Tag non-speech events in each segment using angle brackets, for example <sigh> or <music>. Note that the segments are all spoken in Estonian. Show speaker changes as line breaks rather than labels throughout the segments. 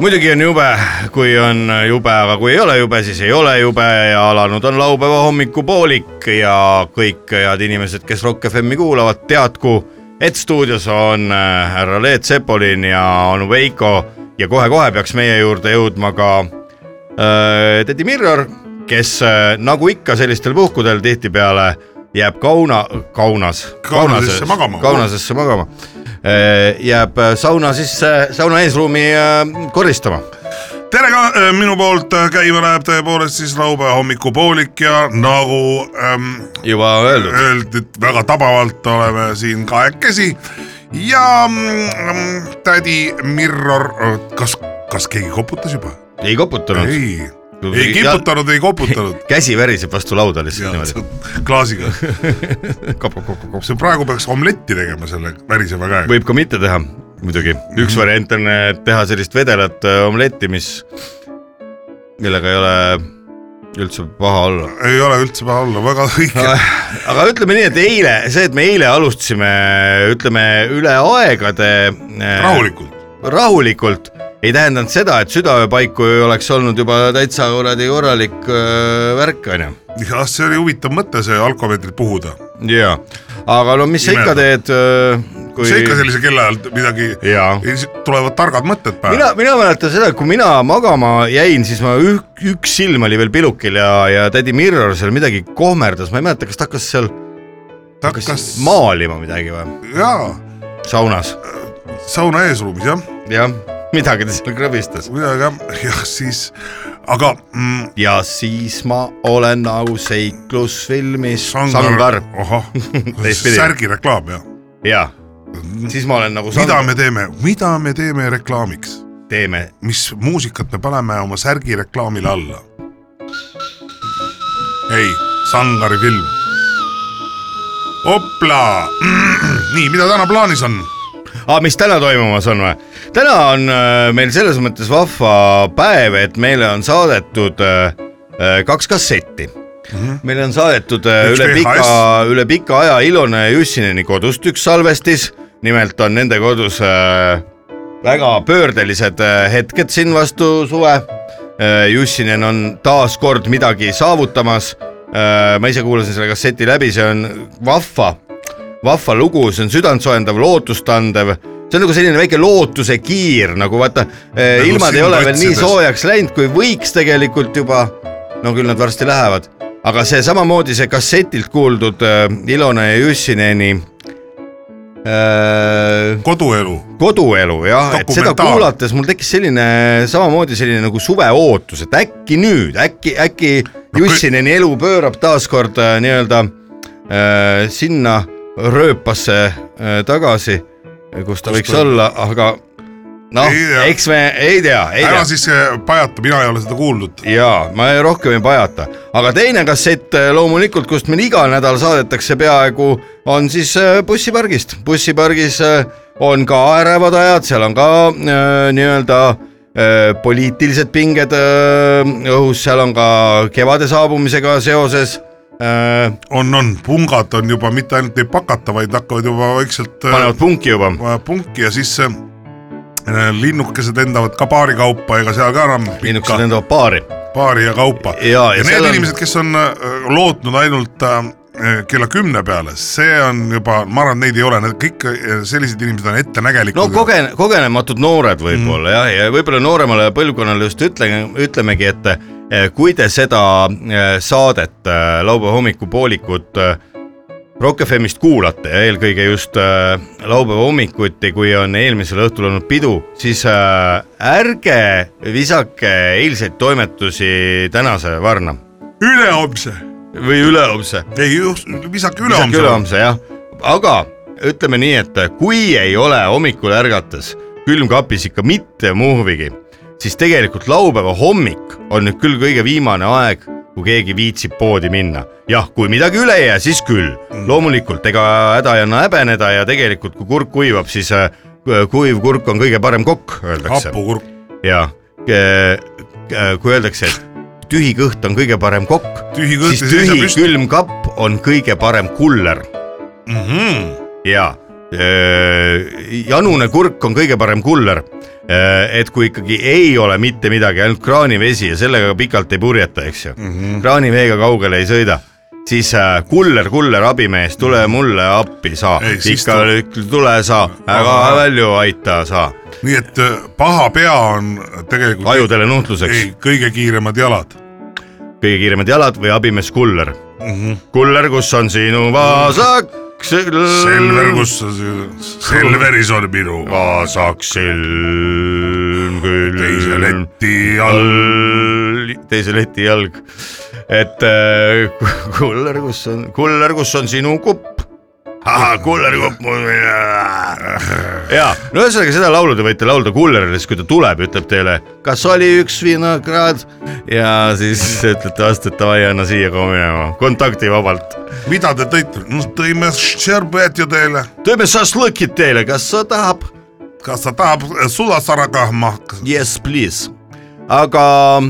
muidugi on jube , kui on jube , aga kui ei ole jube , siis ei ole jube ja alanud on laupäeva hommikupoolik ja kõik head inimesed , kes Rock FM-i kuulavad , teadku , et stuudios on äh, härra Leet Sepolin ja on Veiko ja kohe-kohe peaks meie juurde jõudma ka äh, tädi Mirror , kes äh, nagu ikka sellistel puhkudel tihtipeale jääb kauna , kaunas ,
Kaunasesse magama.
kaunasesse magama , jääb äh, sauna sisse , sauna eesruumi äh, koristama
tere ka äh, minu poolt , käima läheb tõepoolest siis laupäeva hommikupoolik ja nagu ähm,
juba öeldud .
öeldi , et väga tabavalt oleme siin kahekesi ja mm, tädi Mirror , kas , kas keegi koputas juba ?
ei koputanud ,
ei , ei kiputanud , ei koputanud .
käsi väriseb vastu lauda lihtsalt <laughs> niimoodi .
klaasiga ,
kopub , kopub , kopub .
see praegu peaks omletti tegema selle väriseva käega .
võib ka mitte teha , muidugi .
Mhm.
üks variant on äh, teha sellist vedelat äh, omletti , mis , millega ei ole üldse paha olla .
ei ole üldse paha olla , väga õige .
aga ütleme nii , et eile , see , et me eile alustasime , ütleme üle aegade .
rahulikult ,
rahulikult ei tähendanud seda , et südaöö paiku ei oleks olnud juba täitsa kuradi korralik öö, värk , onju .
jah , see oli huvitav mõte , see alkomeetrit puhuda .
jaa , aga no mis sa ikka teed , kui .
see ikka sellisel kellaajal midagi
jaa .
Ja siis tulevad targad mõtted pähe .
mina , mina mäletan seda , kui mina magama jäin , siis ma üh, üks silm oli veel pilukil ja , ja tädi Mirror seal midagi kohmerdas , ma ei mäleta , kas ta hakkas seal , hakkas
hakkas ma... ,
maalima midagi või
jaa ,
saunas ,
sauna eesruumis jah ,
jah , midagi ta seal krõbistas .
kuidagi jah , jah siis , aga mm,
ja siis ma olen nagu seiklusfilmis
sangar,
sangar <laughs>
ahah
Teistpidi. ,
särgireklaam jah .
ja siis ma olen nagu
Mm. mida
sangar ,
me teeme , mida me teeme reklaamiks ,
teeme
mis muusikat me paneme oma särgireklaamile alla ? ei , Sangari film . opla , <clears throat> nii , mida täna plaanis on ?
aga mis täna toimumas on või ? täna on äh, meil selles mõttes vahva päev , et meile on saadetud äh, äh, kaks kassetti mm . -hmm. meile on saadetud äh,
Üks
üle pika
VHS. ,
üle pika aja Ilona ja Jussineni kodust üks salvestis . nimelt on nende kodus äh, väga pöördelised äh, hetked siin vastu suve . Jussinen on taas kord midagi saavutamas . ma ise kuulasin selle kasseti läbi , see on vahva vahva lugu , see on südantsoojendav , lootustandev , see on nagu selline väike lootuse kiir nagu vaata eh,
Nagu
ilmad ei ole veel nii
silmaotsidest.
soojaks läinud , kui võiks tegelikult juba . no küll nad varsti lähevad , aga see samamoodi see kassetilt kuuldud eh, Ilona ja Jussineni eh,
koduelu
koduelu jah , et seda
Dokumentaal.
kuulates mul tekkis selline samamoodi selline nagu suveootus , et äkki nüüd , äkki , äkki
kui-
Jussineni elu pöörab taaskord äh, nii-öelda äh, sinna rööpasse äh, tagasi , kus ta võiks
ta-
olla , aga noh
Ei tea. ,
eks me ei tea , ei
ära
tea
siis äh, pajata , mina ei ole seda kuulnud .
jaa , ma ei- rohkem ei pajata , aga teine kassett äh, loomulikult , kust meil igal nädal saadetakse peaaegu , on siis äh, bussipargist . bussipargis äh, on ka ärevad ajad , seal on ka äh, nii-öelda äh, poliitilised pinged äh, õhus , seal on ka kevade saabumisega seoses äh, ,
on , on , pungad on juba mitte ainult ei pakata , vaid hakkavad juba vaikselt äh,
panevad punki juba .
äh, punki ja siis äh, linnukesed lendavad ka paari kaupa , ega seal ka enam
linnukesed
pikka
lendavad paari .
paari ja kaupa .
Jaa, ja
ja
seal
need
on-
inimesed , kes on äh, lootnud ainult äh, kella kümne peale , see on juba , ma arvan , neid ei ole , need kõik äh, sellised inimesed on
no
ettenägelikud .
kogen- , kogenematud noored võib-olla mm. jah , ja võib-olla nooremale põlvkonnale just ütle , ütlemegi , et eh, kui te seda eh, saadet , laupäeva hommikupoolikut eh, Rock FM-ist kuulate ja eelkõige just äh, laupäeva hommikuti , kui on eelmisel õhtul olnud pidu , siis äh, ärge visake eilseid toimetusi tänase varna
ülehomse ,
või ülehomse .
ei just , visake
lisake
ülehomse .
ülehomse jah , aga ütleme nii , et kui ei ole hommikul ärgates külmkapis ikka mitte muhvigi , siis tegelikult laupäeva hommik on nüüd küll kõige viimane aeg , kui keegi viitsib poodi minna . jah , kui midagi üle ei jää , siis küll . loomulikult , ega häda ei anna häbeneda ja tegelikult , kui kurk kuivab , siis äh, kuiv kurk on kõige parem kokk , öeldakse .
hapukurk ,
ja kui öeldakse , et tühi kõht on kõige parem kokk ,
tühi kõht
siis
ei seisa
tühi
püsti .
külm kapp on kõige parem kuller
Mhm.
ja öö, janune kurk on kõige parem kuller . et kui ikkagi ei ole mitte midagi , ainult kraanivesi ja sellega pikalt ei purjeta , eks ju mm
Mhm.
-hmm. , kraaniveega kaugele ei sõida siis äh, kuller , kuller abimees , tule mulle appi sa ,
Mhm. Ei, siis
ikka
tuleb-
ütle, tule sa ,
Ahah.
ära välju aita sa ,
nii et äh, paha pea on tegelikult
ajudele nuhtluseks
ei, kõige kiiremad jalad
kõige kiiremad jalad või abimees kuller .
mm . -hmm.
kuller , kus on sinu vaasak .
Selver , kus sa , Selveris on minu
vaasak silm külm .
teise leti all .
all , teise leti jalg . et äh, ku- kuller , kus on , kuller , kus on sinu kupp ? kuller , kupp mul . ja no ühesõnaga seda laulu te võite laulda kullerile , siis kui ta tuleb , ütleb teile , kas oli üks vinograd ja siis ütlete vastu , et davai , anna siia kohe minema , kontaktivabalt .
mida te tõite ? no tõime šerbeti teile .
teeme šašlõkid teile , kas sa tahab ?
kas sa tahad äh, sulasara kah mahka ?
Yes , please . aga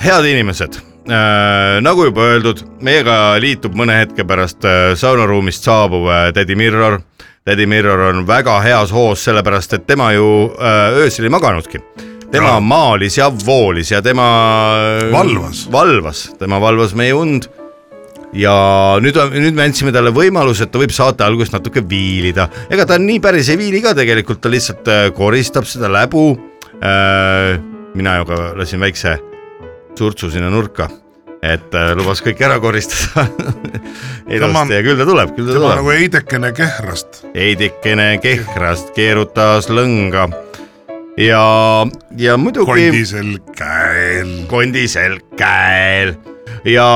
head inimesed äh, , nagu juba öeldud , meiega liitub mõne hetke pärast äh, saunaruumist saabuv äh, tädi Mirror . tädi Mirror on väga heas hoos , sellepärast et tema ju äh, öösel ei maganudki . tema
Jaa.
maalis ja voolis ja tema äh,
Valvas.
valvas , tema valvas meie und ja nüüd , nüüd me andsime talle võimaluse , et ta võib saate alguses natuke viilida , ega ta nii päris ei viili ka tegelikult , ta lihtsalt äh, koristab seda läbu . mina ju ka lasin väikse surtsu sinna nurka , et äh, lubas kõik ära koristada <laughs>
Tema-
ilusti ja küll ta tuleb , küll ta
tema
tuleb
nagu heidekene Kehrast .
heidikene Kehrast keerutas lõnga ja , ja muidugi .
kondisel käel .
kondisel käel ja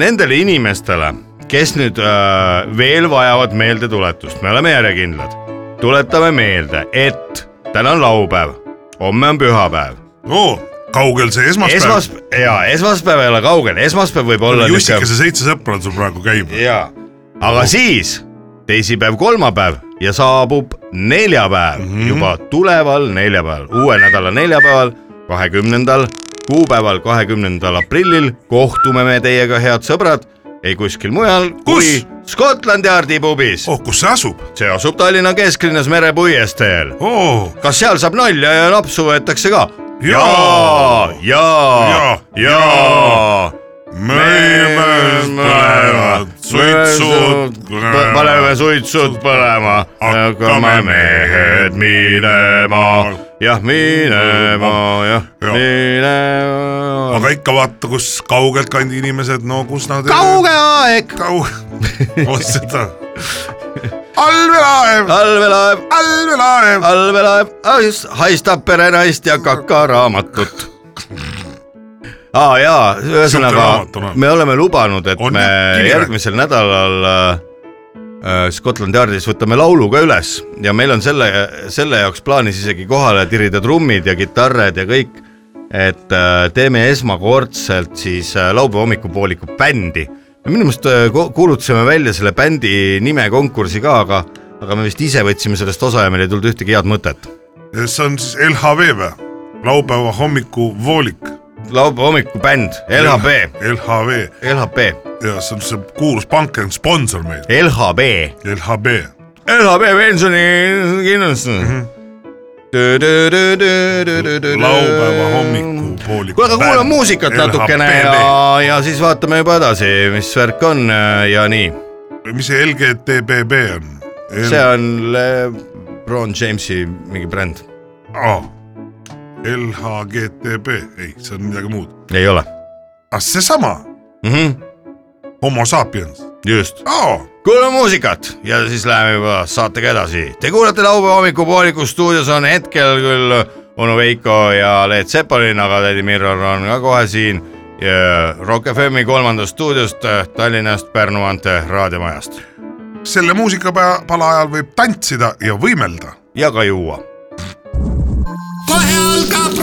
nendele inimestele , kes nüüd äh, veel vajavad meeldetuletust , me oleme järjekindlad , tuletame meelde , et täna on laupäev , homme on pühapäev ,
oo , kaugel see esmaspäev Esmas... ?
esmaspäev ja esmaspäev ei ole kaugel , esmaspäev võib olla niisugune-
Jussikese seitse sõpra on sul praegu käimas .
ja , aga siis teisipäev , kolmapäev ja saabub neljapäev mm ,
Mhm.
-hmm. juba tuleval neljapäeval , uue nädala neljapäeval , kahekümnendal kuupäeval , kahekümnendal aprillil kohtume me teiega , head sõbrad , ei kuskil mujal kui
Kus?
Skotlandi Ardipubis oh. .
oh , kus see asub ?
see asub Tallinna kesklinnas merepuiesteel .
oo ,
kas seal saab nalja ja napsu võetakse ka ?
Jaa!
ja
Jaa! ,
ja , ja
meemed põlevad , suitsud
paneme . suitsud põlema , hakkame mehed minema , jah minema , jah
Jah.
minema .
aga ikka vaata , kus kaugelt kandi inimesed , no kus nad .
kauge aeg ,
kaug- , vot seda . Ah! allveelaev ,
allveelaev ,
allveelaev .
allveelaev , Ah, haistab perenaist ja kakaraamatut . aa ah, jaa ,
raamat on
ühesõnaga
olemas.
me oleme lubanud , et
On
me
jah, kinni
järgmisel nädalal äh, Scotland Yardis võtame laulu ka üles ja meil on selle , selle jaoks plaanis isegi kohale tirida trummid ja kitarred ja kõik . et äh, teeme esmakordselt siis äh, laupäeva hommikupooliku bändi . minu meelest äh, ko- kuulutasime välja selle bändi nime konkursi ka , aga , aga me vist ise võtsime sellest osa ja meil ei tulnud ühtegi head mõtet .
see on siis LHV või ? laupäeva hommikuvoolik .
laupäeva hommikubänd LHB ,
LHV
LHB ,
ja see on see kuulus pank on sponsor meil ,
LHB
LHB .
LHV pensionikindlustus mm . -hmm.
laupäeva hommikupoolik .
kuule , aga kuulame muusikat natukene ja , ja siis vaatame juba edasi , mis värk on äh, ja nii .
mis see LGTBB on ?
see on LeBron Jamesi mingi bränd .
Ah, LHGTB , ei , see on midagi muud .
ei ole
ah , seesama ,
mm . -hmm.
homo sapiens
just .
oh, .
kuulame muusikat ja siis läheme juba saatega edasi . Te kuulate laupäeva hommikupooliku stuudios on hetkel küll onu Veiko ja Leet Sepolin , aga tädi Mirror on ka kohe siin ja Rock FM-i kolmandast stuudiost äh, Tallinnast Pärnu maantee raadiomajast
selle muusikapala ajal võib tantsida ja võimelda .
ja ka juua
kohe algab Rootsi .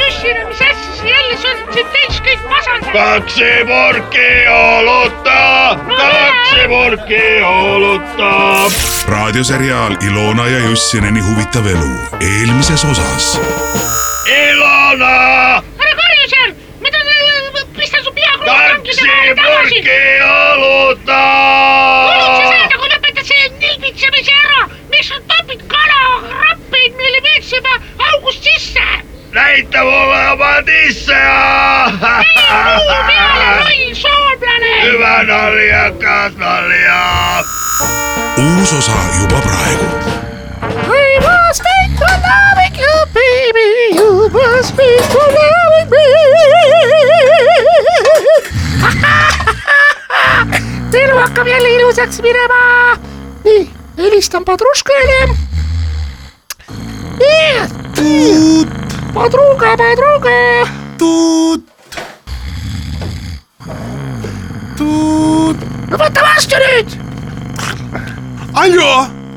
Jussin , mis asja sa jälle , sul on siin täis kõik masendab .
kaksipurki oluta , kaksipurki oluta .
raadioseriaal Ilona ja Jussineni huvitav elu eelmises osas .
Ilona ,
ära karju seal , ma tahan , pistan su pea kroonrongide vahele tagasi .
kaksipurki
kuulid sa
oluta .
seda , kui lõpetad selle nilbitsemise ära , miks sa topid kalakrappeid meile veetsema august sisse ?
näita mulle oma <laughs> tisse .
puu peale , loll soomlane .
hüva nalja , kas nalja .
uus osa juba praegu .
I must make for loving you, baby. You must make for <laughs> loving me. elu hakkab jälle ilusaks minema . nii , helistan Padruškale . tuut . Padruga , Padruga . tuut . tuut . no võta vastu nüüd .
Aljo ,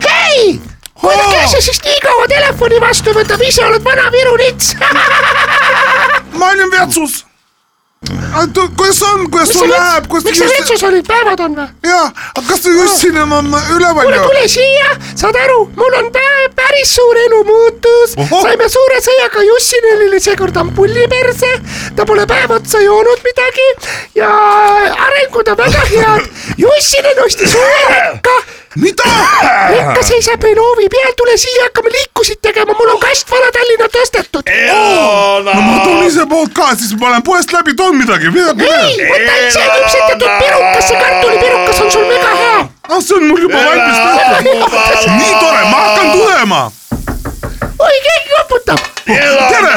hei , kuidas sa siis nii kaua telefoni vastu võtab , ise oled vana Viru lits .
<laughs> ma olin vetsus . kuidas on , kuidas sul läheb , kuidas
miks sa vetsus olid , päevad on või ?
jaa , aga kas sa just siin enam üleval
kuule ,
ju ?
tule siia , saad aru , mul on pä- päris suur elumuutus .
Ohoh.
saime suure sõjaga Jussinile , seekord ampulli perse . ta pole päev otsa joonud midagi ja arengud on väga head . Jussinil ostis uue rekka .
mida ?
rekka seisab meil hoovi peal , tule siia , hakkame liikusid tegema , mul on kast Vana-Tallinna tõstetud .
no ma tulen ise poolt ka , siis ma lähen poest läbi , toon midagi , midagi
ei , võta ise küpsetatud pirukas , see kartulipirukas on sul väga hea .
ah , see on mul juba valmis tehtud . nii tore , ma hakkan tulema .
oi , keegi koputab .
tere ,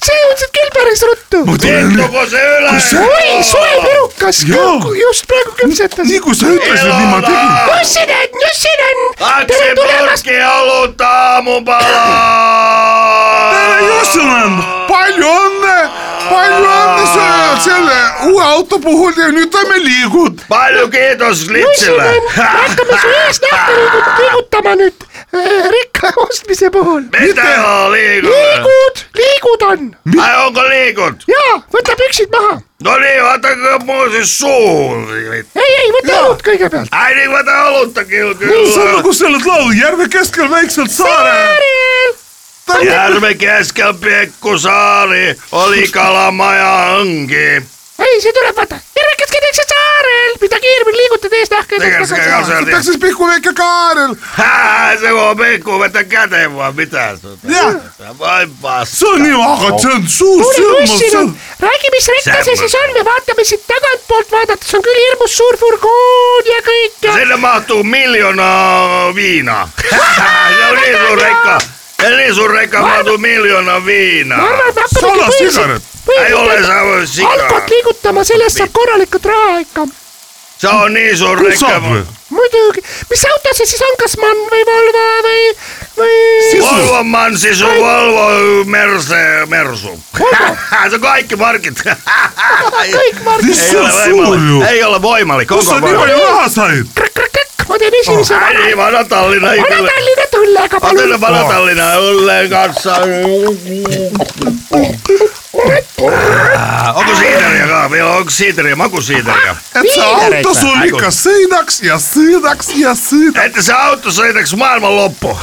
see jõudsid küll päris ruttu .
ma tulen nüüd .
oi , soe pirukas
Jaa. ,
just praegu küpsetas .
nii kui sa ütlesid , nii ma tegin .
Jussinen , Jussinen , tere tulemast .
kaksipurki oluta mu pala .
tere , Jussinen , palju õnne , palju õnne selle , selle uue auto puhul ja nüüd lähme liigud .
palju kiidus Litsile .
Jussinen , hakkame su ees nähtama , liigutama nüüd äh, rikka ostmise puhul .
mida liigud ?
liigud , liigud on
on ka liigud ?
ja võta püksid maha .
no nii , vaata kui mul siis suu .
ei , ei võta õlut kõigepealt .
ei , nii ma tahan olutagi ju
see on
küll .
nagu selle laulu Järve keskel väikselt saare .
järve keskel Pekku saari oli kalamaja õngi .
ei , see tuleb , vaata , kergelt käiakse saarel , mida kiiremini liigutad ees nahka .
Tegelikult ka seal jah ,
peaks siis Pihku väike kaarel .
see on Pekku , võta käde juba , mida sa .
jah ,
vai pass .
see on nii , aga see on suur
kuule , Jussil on
sõrm .,
räägi , mis rekka see
Sõrmus.
siis on ja vaatame siit tagantpoolt vaadates on küll hirmus suur furgoon ja kõik ja
sinna mahtuu miljoona viina . se on niin sun rekka . Se on niin sun rekka mahtuu miljoona
ma
viinaa .
arvan , et hakkame
salasigaret.
Ei ole saa voi sikaa.
alkot liigutama , sellest saab korralikult raha ikka .
Se on niin sun rekka
saab või ?
muidugi , mis auto see siis on , kas Mann või Volvo või , või ?
Volvo Mansi, sun Volvo Merse Mersu. <laughs> Se on kaikki markit.
kõik marked ,
Ei ole
Issand, suur
voimallinen.
ju.
Ei ole voimallinen.
kus
Onko
sa nii
niin
voimallinen?
palju raha said ?
krõkk-krõkk , ma teen esimese
Ai
vana ,
niin, vanha Tallinna ei
vana
kyllä.
Tallinna tullega , palun
Otan vanha Tallinna Ulleen kanssa. Onko siideriä kahvia? Onko siideriä? Makusiideriä?
et see auto sul
Aigu.
ikka sõidaks ja sõidaks ja sõidaks .
Että se auto sõidaks maailman loppu.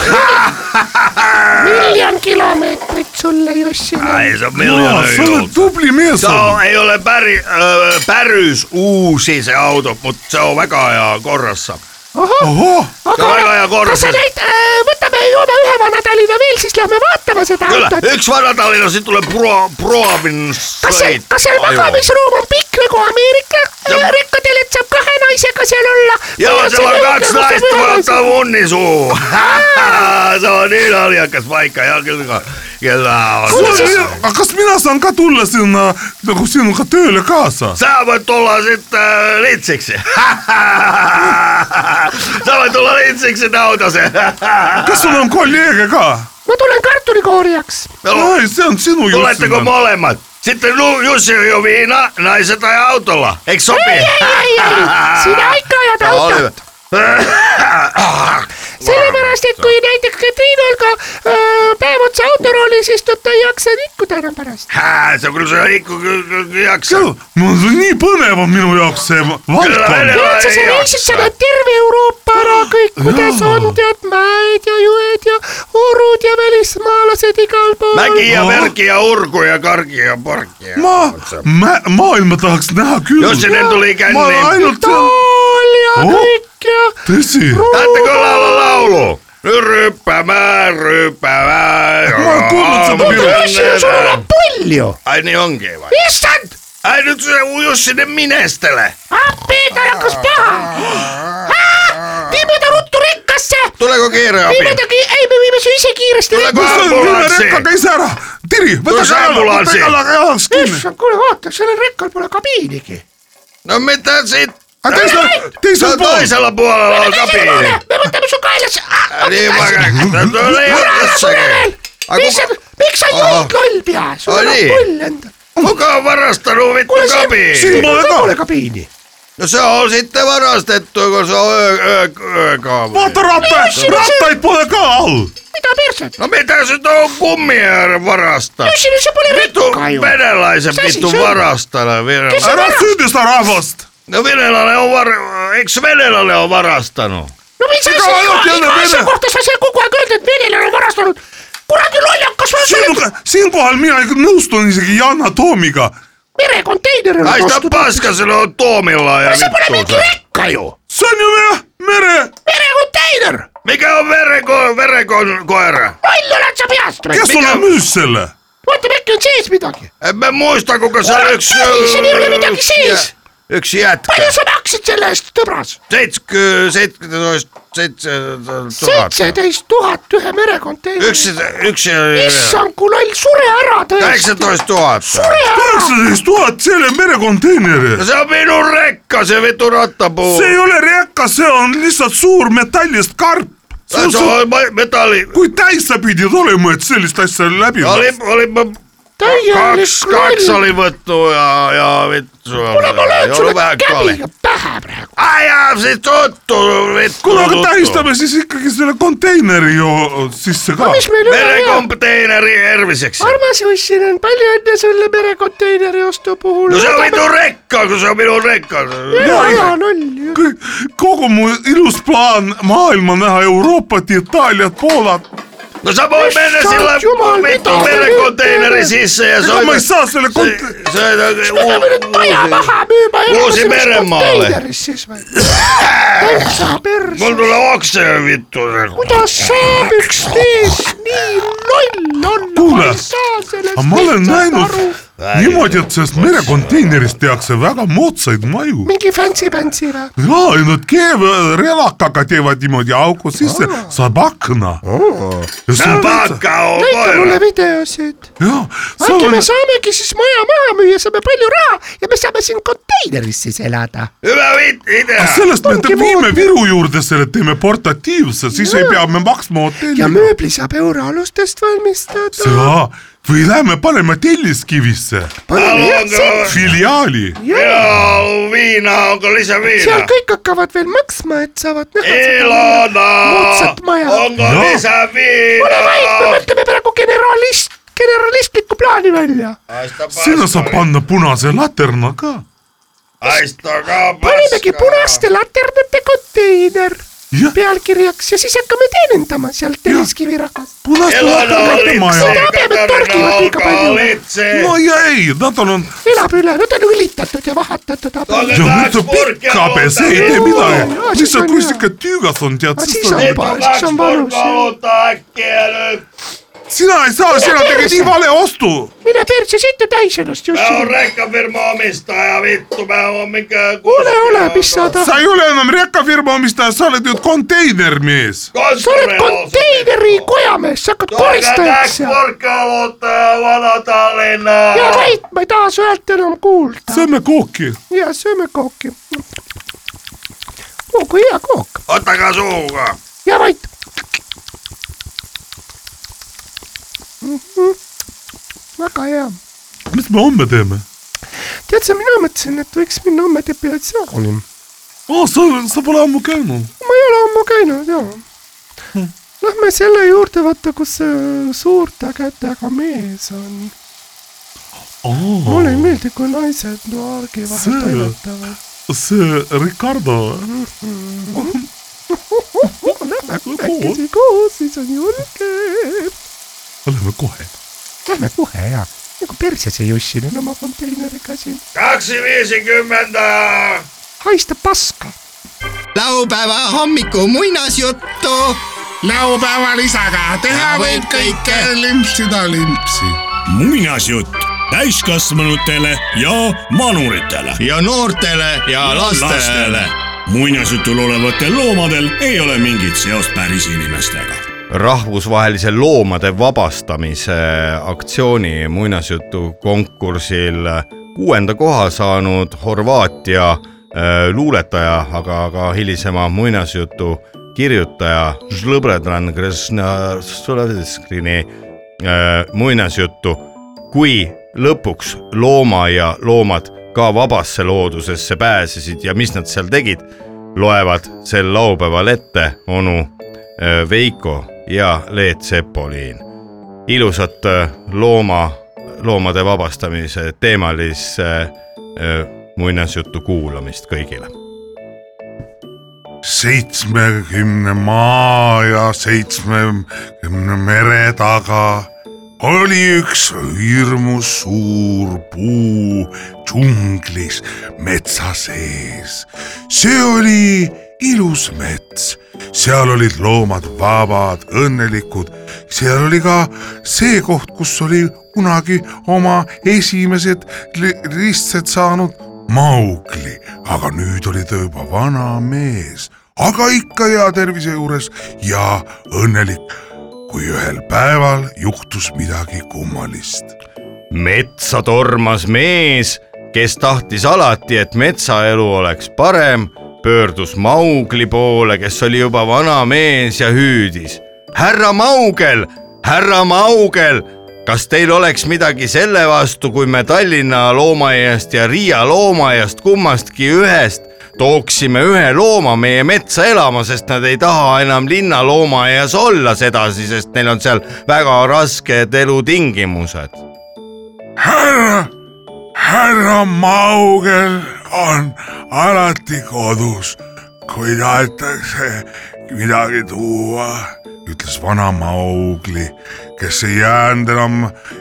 miljon kilomeetrit sulle , Jussil .
Ai se on miljoona
sa oled
no,
tubli mees
Se
olnud .
on, ei ole päri, ö, päryys uusi se auto, mutta se on väga hea korrassa.
ohoh ,
Se on aika
aga
hea
kas
korrassa.
sa näid , võtame , joome ühe vana Tallinna veel , siis lähme vaatame seda
Kyllä,
autot .
yksi varatallinna, sitten tulee pro, Provin
kas see
Street. ,
kas seal
Aivan.
magamisruum on pikk nagu Ameerika
Ja-
rekkadel , et saab kahena naisega seal olla .
joo , sul on kaks naist , mul on tavunni suu . <laughs> see on niin nii naljakas paika ja küll ka , kella on .
aga kas mina saan ka tulla sinna nagu sinuga tööle kaasa ?
sa võid tulla siit äh, <laughs> lintsiks . sa võid tulla lintsiks sinna <laughs> autosse .
kas sul on kolleege ka ?
ma tulen kartulikoorjaks .
ei , see on sinu
tuletteko molemmat? Sitten Lu- Jussi on jo viina, naiset ajaa autolla. Eikö sopi?
ei , ei , ei , ei , sina ikka ajad autot . sellepärast , et kui näiteks Katriin Olga öö, päev otsa autoroolis istub , ta ei jaksa nikkuda enam pärast .
<coughs> Hää, se on kyllä se ikku ky- ky- ky- jaksa.
no see on nii põnev on minu jaoks see valdkond .
Ei
tead sa , sa
jaksa.
reisid seda terve Euroopa ära kõik , kuidas on , tead mäed ja jõed ja orud ja välismaalased igal pool .
Mäki ja Merki ja Urku ja Karki ja Porkki. ja-
ma , ma , maailma tahaks näha küll .
Jussinen tuli
ma olen
känniin.
ainult ,
Tool ja
Oh.
kõik ja .
tõsi ,
Taitte kyllä olla laulu? Nyt Ryppämään, ryppämään.
Mä oon kuullut sitä
Aamu
bileet.
mennään.
sul on palju .
Ai niin onkin vai?
issand ,
Ai nyt se Jussinen minestele.
appi , ta hakkas paha . viime ta ruttu rekkasse ,
Tuleeko kiire
viime
api?
ta , ei , me viime su ise kiiresti
Tuleeko
kus on minu
ambulanssi?
rekka käis ära , Tiri , võta
Kus
kala , võta
ambulanssi?
kala jalast kinni .
issand , kuule vaata , sellel rekkal pole kabiinigi .
No mitä sitten?
aga teisel ,
Se
teisel
on
pool ,
No, toisella puolella on kabiini.
me võtame su kaelasse .
Niin vaikka. Tuli jossakin. Ai
mis sa
kuka- ,
miks sa
Ahah.
jood loll pea , sul
Ai
on
niin.
pull endal .
Kuka on varastanut vittu
kuule , siin
kabiini?
Mulla ei
pole
ole.
kabiini .
No se on sitten varastettu, kun se on öö, öö, öö,
vaata rattaid , rattaid pole ka all .
mida perset ?
No mitä se on kummia varastaa?
Jussi , se pole
Vittu
rekka ju .
venäläisen
Sä siis
vittu
söit.
varastana.
Kes sä-
Venälä-
ära süüdista rahvast .
No venäläinen on var... Eikö venäläinen on varastanut?
no mis
Ega
asja
ainult , jälle
iga asja
vene-
kohta sa seal kogu aeg öeldad , et venelane on varastanud . kuradi lollakas , ma olen
sinuga , siinkohal mina ikka nõustun isegi Yana Toomiga .
merekonteinerile
Ai sitä
vastu .
paska se on Tuomilla ja
see pole
vittu
mingi
No se.
rekka ju ,
see on ju mere , mere ,
merekonteiner ,
Mikä on vereko, verekon koira?
loll oled sa peast või ?
kes sulle müüs selle ?
vaata , äkki on sees midagi .
En mä muista kuka se
Kuule,
on yksi...
ei, siinä ei ole mitään
yksi
siis.
jä- Yksi jätkä.
palju sa maksid selle eest , sõbras ?
17 17
seitseteist tuhat ühe merekonteineri .
Yksi, yksi,
issand , kui loll , sure ära tõesti ,
18 000.
sure ära .
kaheksateist tuhat selle merekonteineri
No . se on minun rekka, se vitu
Nagu-
rattapuu.
see ei ole rekka , see on lihtsalt suur metallist karp .
Tai se on ma- metalli...
kui täis sa pidid olema , et sellist asja läbi
Oli, oli mä
täielik
kaksi, kaksi
loll .
oli võttu ja, ja vittu.
kuule , ma löön
Ei
sulle
ollut vähän kali.
käbiga pähe praegu .
Ai jaa, siis tuttu, vittu.
kuule , aga
tuttu.
No,
tähistame siis ikkagi selle konteineri ju sisse ka .
mis meil üle jääb ?
Merekonteineri Erviseksi.
armas Jussinen , palju õnne sulle merekonteineri ostu puhul .
No se on vittu rekka, kun se on minun rekka.
Jaa,
hea null .
kogu mu ilus plaan maailma näha , Euroopat , Itaaliat , Poolat .
No sä voi mennä
Issand
sillä
jumal,
vittu
mitä te
merekonteineri
teette?
sisse ja se
ega
on...
ma ei saa selle
Se,
kont- ,
se, se,
peame nüüd maja maha müüma .
Uusi meremaalle.
siis või ? täitsa
Mul
perse .
tulee okse vittu.
kuidas saab üks mees nii loll olla ?
Kuule, aga ma olen näinud niimoodi , et sellest merekonteinerist tehakse väga moodsaid maju .
mingi fancy-pantsi või ?
jaa , ja nad keevad relakaga teevad niimoodi auku sisse , saab akna .
Pakka on
näita mulle
koira.
videosid .
jah , seal
äkki
on
me saamegi siis maja maha müüa , saame palju raha ja me saame siin konteineris siis elada .
Hyvä vittu, idea.
Ah, sellest me
Ongi
te- viime
moodne.
Viru juurde selle , teeme portatiivse , siis ei pea me maksma hotelli
ja . mööbli saab euroalustest valmistada .
jaa , või lähme paneme Telliskivisse filiaali .
Joo, viina, onko lisä
seal
viinaa?
kõik hakkavad veel maksma , et saavad näha
Ilona!
moodsat maja .
Onko
Joo.
lisä
ole vait , me
viinaa?
mõtleme praegu generalist , generalistlikku plaani välja .
Aista
sinna saab
paska.
panna punase laterna ka .
Aistakaa paskaa.
panemegi punaste laternate konteiner
jah ,
pealkirjaks ja siis hakkame teenindama seal Telliskivi rahvas .
punaste
Elona
laternate
Olitse,
maja .
Kabemet torkivad
Katarina
liiga
Olka
palju.
Olitse.
no ja ei , nad on ,
elab üle , nad on õlitatud ja vahatatud .
Aga-
ja nüüd on pikk habe , see ei tee midagi . lihtsalt kui sihuke tüügas on , tead ,
Aga
siis
siis
on
on-
Nyt on
Paistis
kaksi
on vanus,
purkkaa
joo.
olutta äkkiä nyt.
sina ei saa , sina tegid nii vale ostu .
mine perse , siit on täis ennast , Jussi .
räkafirma omistaja , vittu , me homme ikka .
ole , ole , mis sa tahad .
sa ei ole enam rekafirma omistaja , sa oled nüüd konteinermees .
sa oled konteineri kojamees , sa hakkad koristajaks ja ,
korkalotaja Vana-Tallinna .
ja vait , ma ei taha su häält enam kuulda .
sööme kooki .
ja sööme kooki . oo , kui hea kook
oota ka suuga .
ja vait . Mhm. väga hea .
mis me homme teeme ?
tead sa , mina mõtlesin , et võiks minna homme depilatsiooni .
aa , sa , sa pole ammu käinud .
ma ei ole ammu käinud ja . Lähme selle juurde , vaata , kus see suurte kätega mees on . mulle ei meeldi , kui naised noargi vahel
See-
toimetavad .
see Ricardo ,
Lähme kumbekesi koos , siis on julge .
oleme kohe .
Lähme kohe ja , nagu perses ei ussinud oma konteineriga siin .
kaks ja viisikümmend .
haistab paska .
laupäeva hommiku muinasjuttu .
laupäeval isaga
teha võib kõike. ,
limpsida limpsi .
muinasjutt täiskasvanutele ja manuritele .
ja noortele ja lastele .
muinasjutul olevatel loomadel ei ole mingit seost päris inimestega .
rahvusvahelise loomade vabastamise aktsiooni muinasjutu konkursil kuuenda koha saanud Horvaatia äh, luuletaja , aga ka hilisema muinasjutu kirjutaja Žlõbredran Kresna-Sloveskini äh, muinasjuttu , kui lõpuks looma ja loomad ka vabasse loodusesse pääsesid ja mis nad seal tegid , loevad sel laupäeval ette onu Öö, Veiko ja Leet Sepoliin . ilusat öö, looma , loomade vabastamise teemalise öö, muinasjutu kuulamist kõigile .
seitsmekümne maa ja seitsmekümne mere taga oli üks hirmus suur puu džunglis metsa sees . see oli ilus mets , seal olid loomad vabad , õnnelikud , seal oli ka see koht , kus oli kunagi oma esimesed li- ristsed saanud Maugli , aga nüüd oli ta juba vana mees , aga ikka hea tervise juures ja õnnelik , kui ühel päeval juhtus midagi kummalist .
metsa tormas mees , kes tahtis alati , et metsaelu oleks parem , pöördus Maugli poole , kes oli juba vana mees ja hüüdis . härra Maugel , härra Maugel , kas teil oleks midagi selle vastu , kui me Tallinna loomaaiast ja Riia loomaaiast kummastki ühest tooksime ühe looma meie metsa elama , sest nad ei taha enam linna loomaaias olla sedasi , sest neil on seal väga rasked elutingimused
härra , härra Maugel on alati kodus , kui tahetakse midagi tuua , ütles vana Maugli , kes ei jäänud enam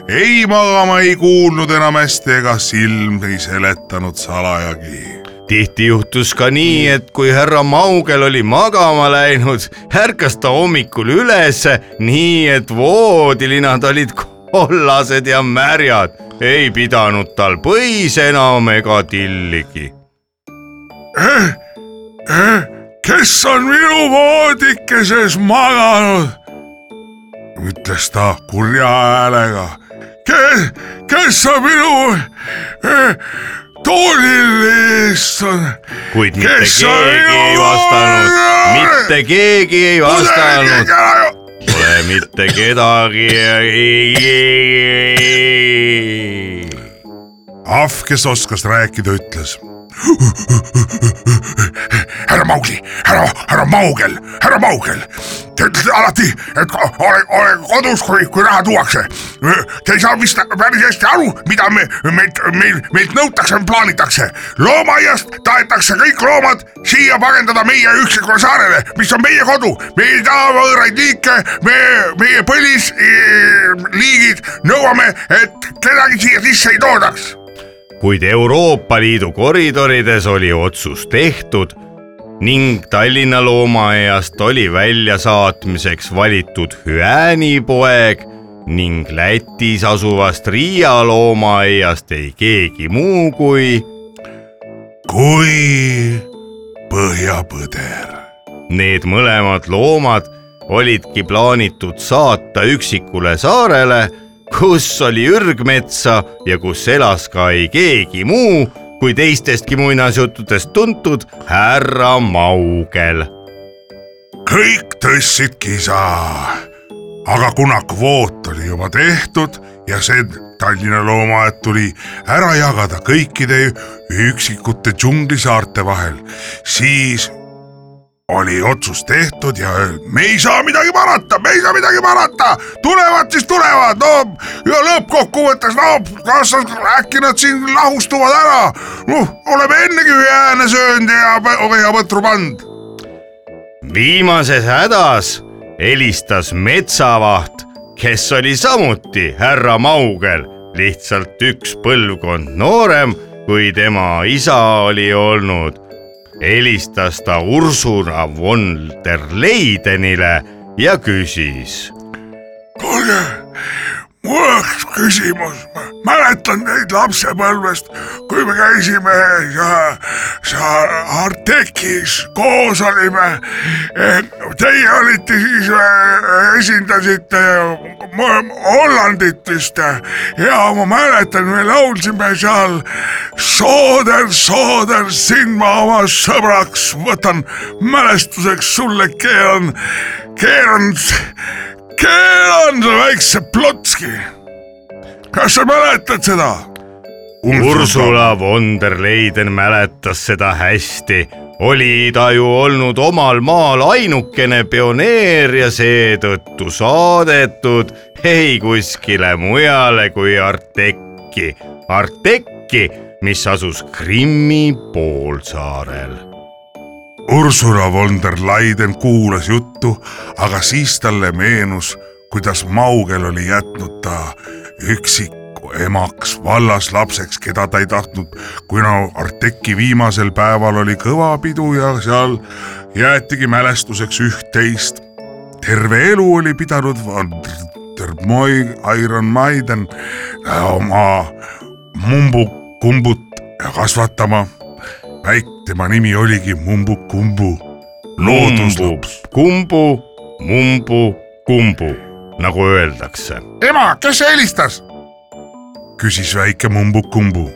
ei magama , ei kuulnud enam hästi ega silm ei seletanud salajagi
tihti juhtus ka nii , et kui härra Maugel oli magama läinud , ärkas ta hommikul ülesse , nii et voodilinad olid kollased ja märjad . ei pidanud tal põis enam ega tilligi .
kes on minu voodikeses maganud , ütles ta kurja häälega . kes , kes on minu eh, toolil istunud ,
kuid mitte
Kes sa
keegi ei
ei
vastanud
ole? ,
mitte keegi ei vastanud , pole mitte kedagi .
ahv , kes oskas rääkida , ütles . härra Maugli , härra , härra Maugel , härra Maugel , te ütlete alati , et ko- ole , ole kodus , kui , kui raha tuuakse . Te ei saa vist päris hästi aru , mida me , meilt , meil , meilt nõutakse , plaanitakse . loomaaiast tahetakse kõik loomad siia pagendada meie üksikule saarele , mis on meie kodu . me ei taha võõraid liike , me , meie põlisliigid nõuame , et kedagi siia sisse ei toodaks
kuid Euroopa Liidu koridorides oli otsus tehtud ning Tallinna loomaaiast oli väljasaatmiseks valitud hüäänipoeg , ning Lätis asuvast Riia loomaaiast ei keegi muu kui
kui põhjapõder .
Need mõlemad loomad olidki plaanitud saata üksikule saarele , kus oli ürgmetsa ja kus elas ka ei keegi muu kui teistestki muinasjuttudest tuntud härra Maugel .
kõik tõstsid kisa . aga kuna kvoot oli juba tehtud ja see Tallinna loomaaed tuli ära jagada kõikide üksikute džunglisaarte vahel , siis oli otsus tehtud ja öeldi, me ei saa midagi parata , me ei saa midagi parata , tulevad siis tulevad , no ja lõppkokkuvõttes no kas äkki nad siin lahustuvad ära , noh , oleme ennegi ühe hääle söönud ja põhjapõtru pannud .
viimases hädas helistas metsavaht , kes oli samuti härra Maugel , lihtsalt üks põlvkond noorem , kui tema isa oli olnud . helistas ta Ursula von der Leidenile ja küsis .
kuulge , mul oleks küsimus , ma mäletan neid lapsepõlvest , kui me käisime sa- sa- Artekis koos olime . Teie olite siis , esindasite mõ- Hollandit vist ja ma mäletan , me laulsime seal Sooder , sooder , sind ma oma sõbraks võtan , mälestuseks sulle keeran , keeran keeran su väikse plotski . kas sa mäletad seda ?
Ursula von der Leiden mäletas seda hästi , oli ta ju olnud omal maal ainukene pioneer ja seetõttu saadetud ei kuskile mujale kui Artekki , Artekki , mis asus Krimmi poolsaarel .
Ursula von der Leyen kuulas juttu , aga siis talle meenus , kuidas Maugel oli jätnud ta üksiku emaks vallaslapseks , keda ta ei tahtnud , kuna Arteki viimasel päeval oli kõva pidu ja seal jäetigi mälestuseks üht-teist . terve elu oli pidanud von der Moi , Iron Maiden äh, oma mumbu-kumbut kasvatama väik , tema nimi oligi Mumbu-Kumbu .
kumbu , kumbu , mumbu , kumbu , nagu öeldakse
ema , kes helistas ? küsis väike Mumbu-Kumbu .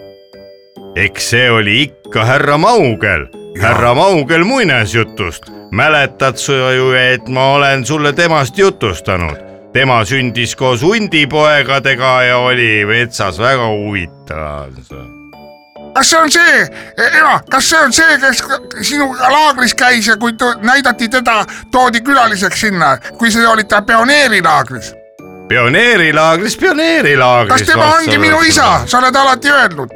eks see oli ikka härra Maugel , härra Maugel muinasjutust . mäletad sa ju , et ma olen sulle temast jutustanud . tema sündis koos hundipoegadega ja oli metsas väga huvitav .
kas see on see , ema , kas see on see , kes sinuga laagris käis ja kui tu- näidati teda , toodi külaliseks sinna , kui sa olid ta pioneerilaagris ?
pioneerilaagris , pioneerilaagris .
kas tema ongi minu isa , sa oled alati öelnud ?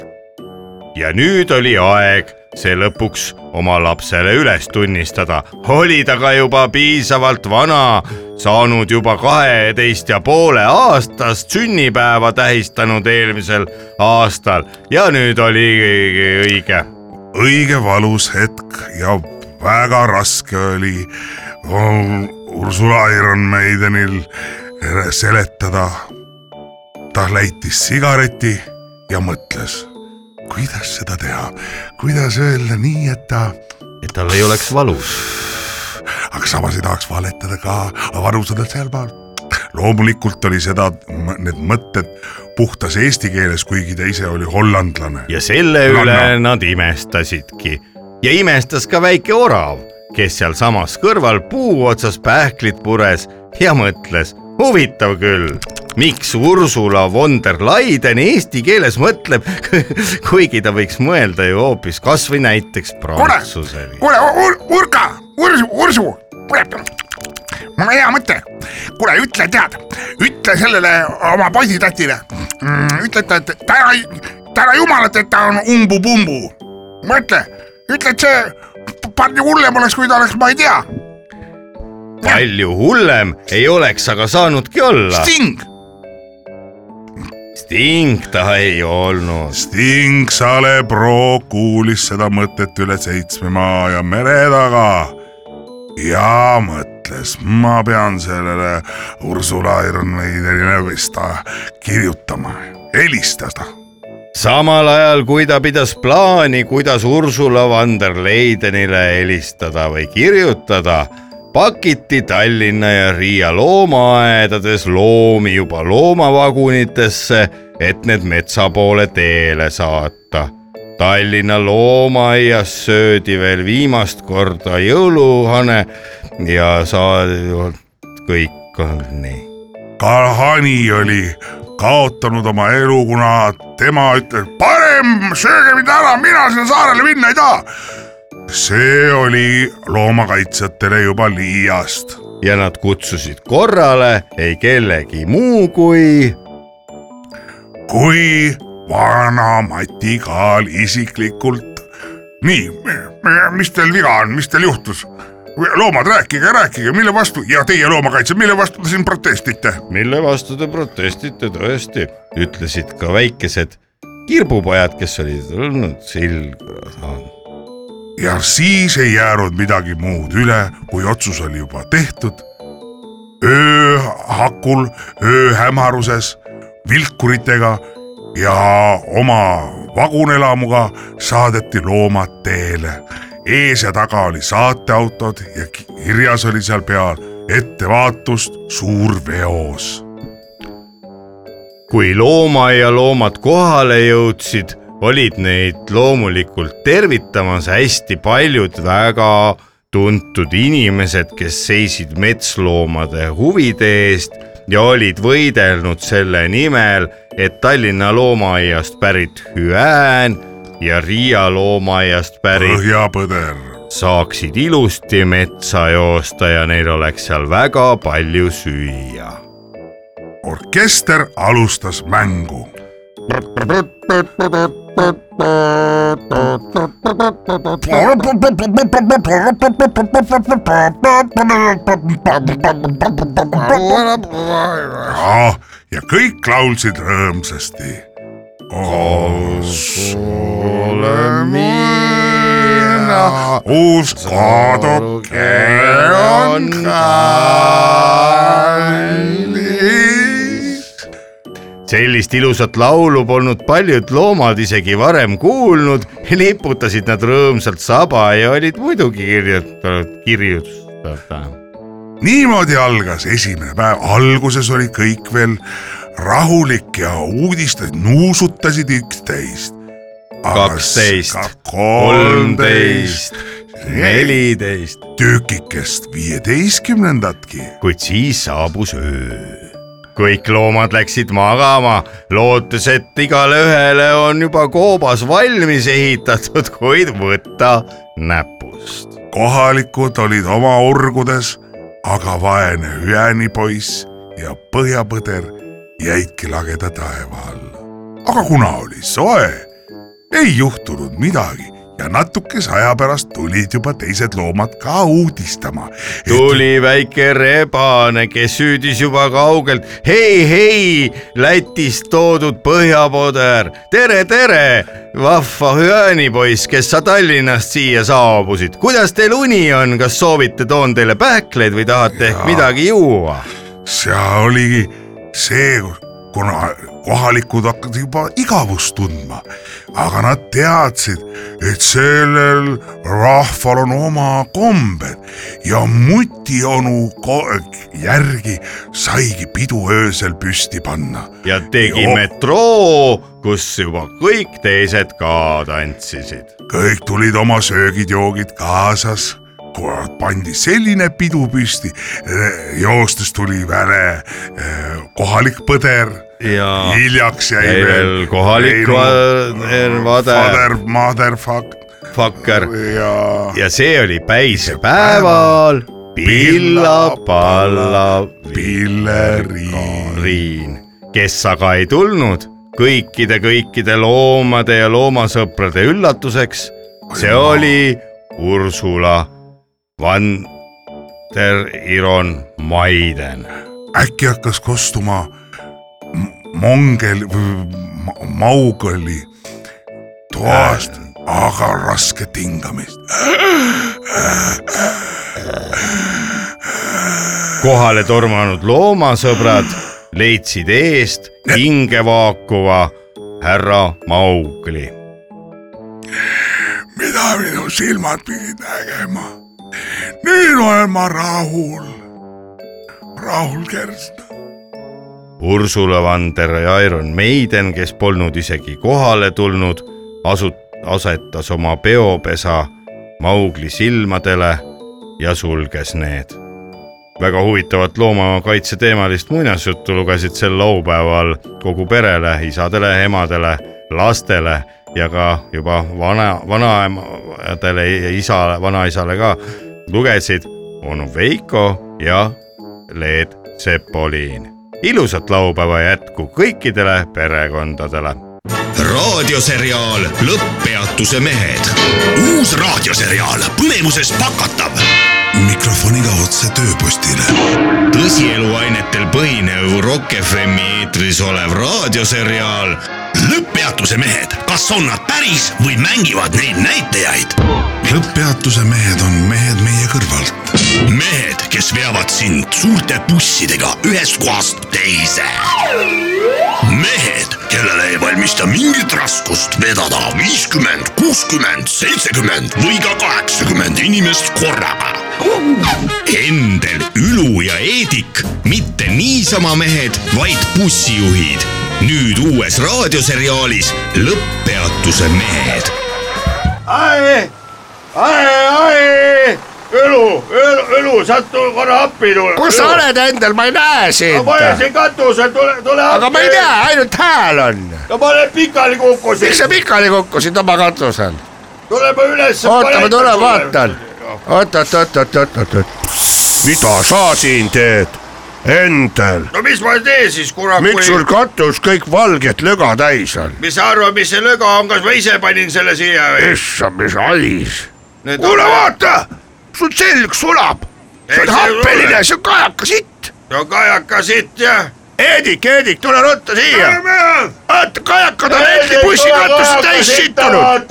ja nüüd oli aeg see lõpuks oma lapsele üles tunnistada . oli ta ka juba piisavalt vana , saanud juba kaheteist ja poole aastast sünnipäeva tähistanud eelmisel aastal ja nüüd oli õige .
õige valus hetk ja väga raske oli Ur- Ursula Ironmaidenil seletada . ta läitis sigareti ja mõtles , kuidas seda teha , kuidas öelda nii , et ta ,
et tal ei oleks valus .
aga samas ei tahaks valetada ka varusadelt sealpool . loomulikult oli seda , need mõtted puhtas eesti keeles , kuigi ta ise oli hollandlane .
ja selle
No,
üle nad imestasidki ja imestas ka väike orav , kes sealsamas kõrval puu otsas pähklit pures ja mõtles , huvitav küll , miks Ursula von der Leyen eesti keeles mõtleb , <laughs> kuigi ta võiks mõelda ju hoopis kasvõi näiteks prantsuseni .
kuule , Urka , Ursu , Ursu , mul on hea mõte . kuule , ütle , tead , ütle sellele oma poisitatile mm, , ütle , et et täna , täna jumalat , et ta on umbu-pumbu . mõtle , ütle , et see p- palju hullem oleks , kui ta oleks , ma ei tea ,
palju hullem ei oleks aga saanudki olla ,
Sting .
Sting ta ei olnud .
Sting Sale Pro kuulis seda mõtet üle seitsme maa ja mere taga ja mõtles . ütles , ma pean sellele Ursula Ironmaidenile vist ta- kirjutama , helistada .
samal ajal , kui ta pidas plaani , kuidas Ursula van der Leidenile helistada või kirjutada , pakiti Tallinna ja Riia loomaaedades loomi juba loomavagunitesse , et need metsa poole teele saata . Tallinna loomaaias söödi veel viimast korda jõuluhane ja saa- , kõik on nii .
ka hani oli kaotanud oma elu , kuna tema ütles , parem sööge mind ära , mina sinna saarele minna ei taha . see oli loomakaitsjatele juba liiast .
ja nad kutsusid korrale ei kellegi muu kui
kui vana Mati Kaal isiklikult . nii , mis teil viga on , mis teil juhtus ? loomad , rääkige , rääkige , mille vastu ja teie loomakaitse , mille vastu te siin protestite ?
mille vastu te protestite tõesti , ütlesid ka väikesed kirbupojad , kes olid olnud silga saanud .
ja siis ei jäänud midagi muud üle , kui otsus oli juba tehtud . öö hakul , öö hämaruses vilkuritega ja oma vagunelamuga saadeti loomad teele . ees ja taga oli saateautod ja ki- kirjas oli seal peal ettevaatust suurveos .
kui loomaaia loomad kohale jõudsid , olid neid loomulikult tervitamas hästi paljud väga tuntud inimesed , kes seisid metsloomade huvide eest ja olid võidelnud selle nimel , et Tallinna loomaaiast pärit hüään ja Riia loomaaiast pärit
põhjapõder ,
saaksid ilusti metsa joosta ja neil oleks seal väga palju süüa .
orkester alustas mängu Ah, ja , ja kõik laulsid rõõmsasti . uus koduke on kallis .
sellist ilusat laulu polnud paljud loomad isegi varem kuulnud , niputasid nad rõõmsalt saba ja olid muidugi kirjutanud kirjutada .
niimoodi algas esimene päev , alguses oli kõik veel rahulik ja uudised nuusutasid üksteist .
kaksteist , kolmteist , neliteist ,
tükikest viieteistkümnendatki .
kuid siis saabus öö . kõik loomad läksid magama , lootes , et igale ühele on juba koobas valmis ehitatud , kuid võta näpust .
kohalikud olid oma orgudes , aga vaene hüäänipoiss ja põhjapõder jäidki lageda taeva alla . aga kuna oli soe , ei juhtunud midagi ja natukese aja pärast tulid juba teised loomad ka uudistama .
tuli väike rebane , kes hüüdis juba kaugelt hei , hei , Lätist toodud põhjapoder , tere , tere , vahva hüäänipoiss , kes sa Tallinnast siia saabusid , kuidas teil uni on , kas soovite , toon teile pähkleid või tahate ehk midagi juua ?
seal oligi see , kuna kohalikud hakkasid juba igavust tundma , aga nad teadsid , et sellel rahval on oma kombed ja mutionu ko- järgi saigi pidu öösel püsti panna .
ja tegi
Joo.
metroo , kus juba kõik teised ka tantsisid .
kõik tulid oma söögid-joogid kaasas , pandi selline pidu püsti , joostes tuli väle eh, kohalik põder
Ah,
ja
hiljaks jäi
jäi veel kohalik vader- vader.
Father , motherfucker
fakker
ja
ja see oli päisepäeval Pilla-Palla
pilleriin .
Riin , kes aga ei tulnud kõikide , kõikide loomade ja loomasõprade üllatuseks . see oli Ursula van der Iron Maiden
äkki hakkas kostuma m- mongel või ma- maugoli toast , aga raske tingamist .
kohale tormanud loomasõbrad leidsid eest hinge vaakuva härra Maugli .
mida minu silmad pidid nägema . nüüd olen ma rahul . rahul Kersna .
Ursula Vander ja Iron Maiden , kes polnud isegi kohale tulnud , asu- , asetas oma peopesa Maugli silmadele ja sulges need . väga huvitavat loomakaitseteemalist muinasjuttu lugesid sel laupäeval kogu perele , isadele , emadele , lastele ja ka juba vana , vanaemadele ja isa , vanaisale ka lugesid onu Veiko ja Leet Sepoliin . ilusat laupäeva jätku kõikidele perekondadele
raadioseriaal Lõpppeatuse mehed .
uus raadioseriaal põnevuses pakatav .
mikrofoniga otse tööpostile .
tõsieluainetel põhinev Rock FM-i eetris olev raadioseriaal
lõpppeatuse mehed , kas on nad päris või mängivad neid näitajaid ?
lõpppeatuse mehed on mehed meie kõrvalt .
mehed , kes veavad sind suurte bussidega ühest kohast teise . mehed , kellele ei valmista mingit raskust vedada viiskümmend , kuuskümmend , seitsekümmend või ka kaheksakümmend inimest korraga .
Endel , Ülu ja Eedik , mitte niisama mehed , vaid bussijuhid . nüüd uues raadioseriaalis Lõpppeatuse mehed .
ai , ai , ai , Ülu , Ülu , Ülu , sa tule korra appi tule .
kus sa ? oled , Endel , ma ei näe sind .
ma olen siin katusel , tule , tule appi .
aga ma ei tea , ainult hääl on .
no ma olen pikali kukkusin
miks sa pikali kukkusid oma katusel ?
tule ma üles .
oota , ma tulen vaatan . oot , oot , oot , oot , oot , oot , oot . mida sa siin teed ? Endel ,
no mis ma teen siis kurat ,
miks sul
kui ,
katus kõik valget löga täis on ?
mis sa arvad , mis see löga on , kas ma ise panin selle siia või ?
issand , mis hais .
Need
kuule ,
on-
vaata , sul selg sulab .
Ei,
see
see
on
ei
happeline ,
ole.
see on kajakas hitt .
no kajakas siit jah .
Eedik , Eedik , tule ruttu siia . vaata , kajakad on Eedi bussikatust täis sittunud .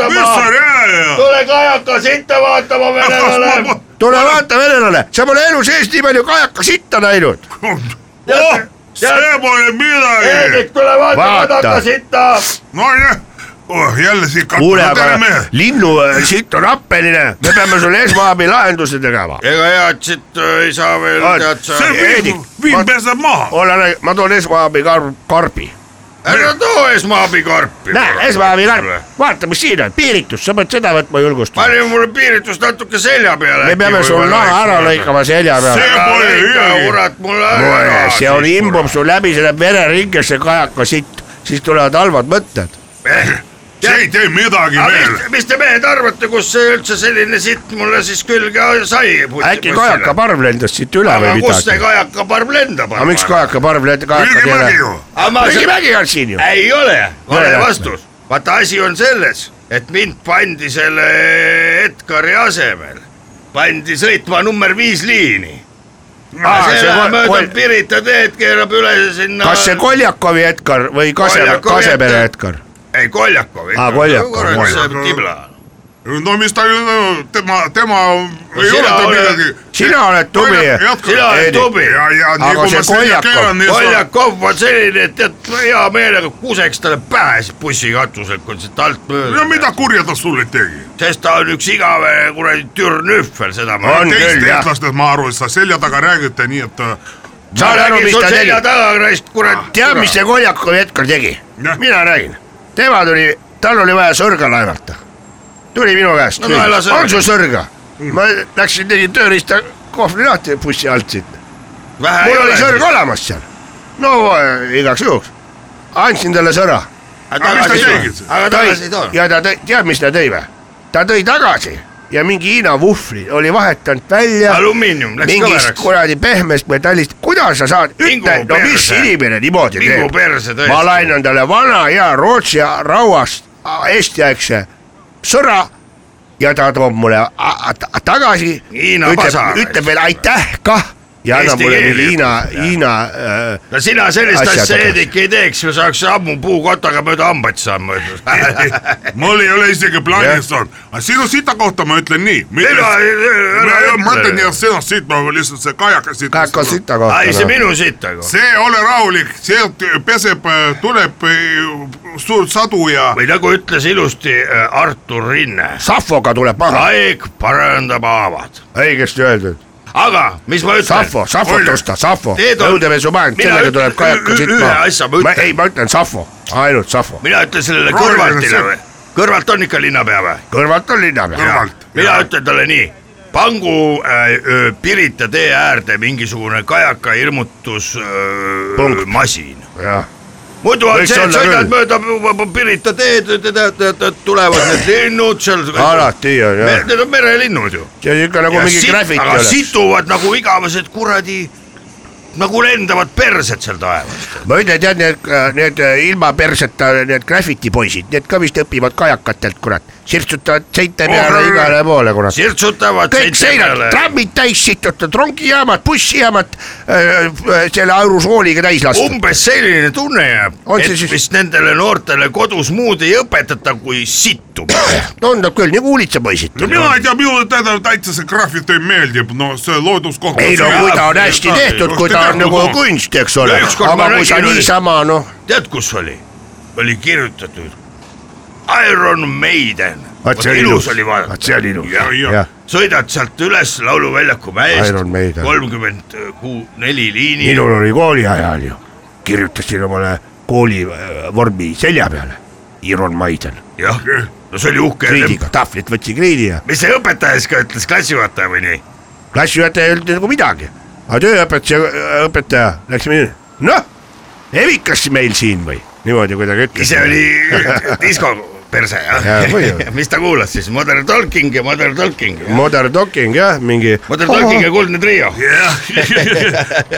tule kajakas siit vaatama <laughs> venelale .
tule vaata venelane , sa pole elu sees nii palju kajakas hitta näinud .
see pole midagi .
Eedik , tule vaata
Vaata.
kajakas sitta .
nojah , jälle siin
kuule ,
katusel , tere
aga
mehed .
linnu äh, sitt on happeline , me peame sulle esmaabi lahenduse tegema .
ega head siit äh, ei saa veel
Vaat,
tead sa .
see
Eedik,
viim , viim
vaat-
peseb maha .
ole , ma toon esmaabi kar- , karbi .
ära too esmaabikarpi .
näe , esmaabi karp , vaata , mis siin on , piiritus , sa pead seda võtma julgustama .
pane mulle piiritus natuke selja peale .
me peame sul naha ära . lõikama selja peale .
ära
pole
lõika
midagi. ,
kurat , mulle
kuule
ära .,
see on , imbub su läbi , see läheb vereringesse , kajaka sitt , siis tulevad halvad mõtted .
see ei tee midagi veel .
mis te mehed arvate , kus see üldse selline sitt mulle siis külge sai ?
äkki kajakaparv lendas siit üle või
aga kust see
midagi ?
kajakaparv lendab ?
aga miks ? kajakaparv lendas , kajakad ei
müügimägi
ole .
ju .
prügimägi on siin ju .
ei ole ,
Vale
vale vastus . vaata , asi on selles , et mind pandi selle Edgari asemel , pandi sõitma number viis liini .
Aa, see kol-
mööda
kol-
Pirita teed keerab üle sinna .
kas see Koljakovi Edgar või Kase ,
Koljakovi
Kasepere
Edgar.
Edgar ?
ei , Koljakov .
Aa, Koljakov,
kurat , see
Koljakov.
tibla .
no mis ta , tema , tema ei
sina
ole tal
oled-
midagi .
sina oled tubli ,
sina oled
Eedik.
tubli .
ja , ja
Aga
nii kui
see
ma selja
Koljakov-
keeran , nii saab .
Koljakov on selline , et tead hea meelega kuseks talle pähe siis bussikatuselt , kui siit alt mööda
no . mida kurja ta sulle tegi ?
sest ta on üks igavene kuradi türnühvel , seda ma .
On
teist
küll, jah.
eestlastest ma aru ei saa , selja taga räägite nii , et äh,
saad aru , mis ta tegi
selja ? taga raisk , kurat .
tead , mis see Koljakovi Edgar tegi ?
Noh.
Jah.
mina räägin , tema tuli , tal oli vaja sõrga laevata . tuli minu käest
No Mm. naela
no, ,
sõrga.
on sul sõrga ? ma läksin , tegin tööriista kohvri lahti bussi alt siit , mul oli sõrg olemas seal . no äh, igaks juhuks , andsin talle sõra
aga
mis ta
tagasi ei
tegi
too.
siis?
aga tagasi ei too .
ja ta tõi , tead , mis ta tõi või ? ta tõi tagasi ja mingi Hiina vuhvli oli vahetanud välja
alumiinium läks
mingist
kõveraks .
kuradi pehmest metallist , kuidas sa saad ,
Vingu
ütle , no mis
perse.
inimene niimoodi
vingu
teeb .
perse
ma
tõesti .
lainan talle vana hea Rootsi rauast a- eestiaegse sõra ja ta toob mulle a- a- ta- tagasi ,
Hiina
ütleb
pasa ,
ütleb veel aitäh kah ja anna
Eesti
mulle
keel
mingi Hiina
jutud, , jah.
Hiina äh,
no sina sellist
Asjad
asja
hakkas.
Heedik ei teeks , sa saaks ammu puukotaga mööda hambaid saama .
<laughs> mul ei ole isegi plaanis olnud , aga sinu sita kohta ma ütlen nii . ma ütlen ja sina siit , ma lihtsalt see kajakas siit .
kaka sita
ei , see
kohta .
minu sitaga .
see , ole rahulik , sealt peseb , tuleb äh, suur sadu ja
või nagu ütles ilusti äh, Artur Rinne ,
Safoga tuleb maha ,
aeg parandab haavad .
õigesti öeldud .
aga mis ma ütlen ,
Safo , Safot osta , Safo ,
Need on-
õudemesumajand ,
mina
sellega
ütlen-
tuleb kajaka
ü-
siit
ühe asja ma
maha
ütlen. .
ei , ma ütlen Safo , ainult Safo .
mina ütlen sellele
Roheline
kõrvaltile
sõnum.
või , kõrvalt on ikka linnapea või ?
kõrvalt on linnapea .
kõrvalt .
mina ütlen talle nii , pangu äh, öö, Pirita tee äärde mingisugune kajaka
Punkt.
hirmutusmasin .
jah ,
muidu on
Võiks
see , et
olla
sõidad mööda p- p- Pirita teed , tulevad need linnud seal .
alati on jah ,
Need on merelinnud ju .
see on ikka nagu
Ja
mingi
sit-
graffiti
aga
oleks .
situvad nagu igavesed kuradi , nagu lendavad persed seal taevas .
ma ütlen , tead need , need äh, ilma perseta need graffiti poisid , need ka vist õpivad kajakatelt , kurat , sirtsutavad seinte peale
Oh,
igale poole , kurat .
sirtsutavad .
kõik seinad , trammid täis situtud , rongijaamad , bussijaamad äh, äh, selle aerusooliga täis lastud .
umbes selline tunne jääb
On , see
et
siis-
vist nendele noortele kodus muud ei õpetata kui
<coughs>
sittu .
tundub küll nagu huulitsapoisid .
no mina ei tea , minule tähendab täitsa see graafik ei meeldi , no see looduskoht .
ei no kui ta on hästi
Jaa,
tehtud , kui ta on nagu kunst , eks ole ,
Ükskord ma
aga kui sa
nägin, oli-
niisama noh ,
tead , kus oli ? oli kirjutatud Iron Maiden .
Vaat see oli ilus.
ilus oli
vaat see oli ilus.
jah
jah ,
sõidad sealt üles Lauluväljaku
Iron
mäest
Maiden. ,
kolmkümmend kuu , neli liini .
minul oli kooli ajal ju , kirjutasin omale kooli äh, vormi selja peale , Iron Maiden ,
jah , no see oli uhke .
kriidiga , tahvlit võtsin kriidi ja
mis see õpetaja siis ka ütles , klassijuhataja või nii ?
klassijuhataja ei öelnud nagu midagi . aga tööõpetaja , õpetaja , läksime , noh , evikas meil siin või niimoodi kuidagi ütles .
ise oli
<laughs>
disko perse
Jaa,
<laughs>
või-
jah , mis ta kuulas siis , Modern Talking ja Modern Talking .
Modern Talking jah , mingi .
Modern Talking ja Kuldne Trio .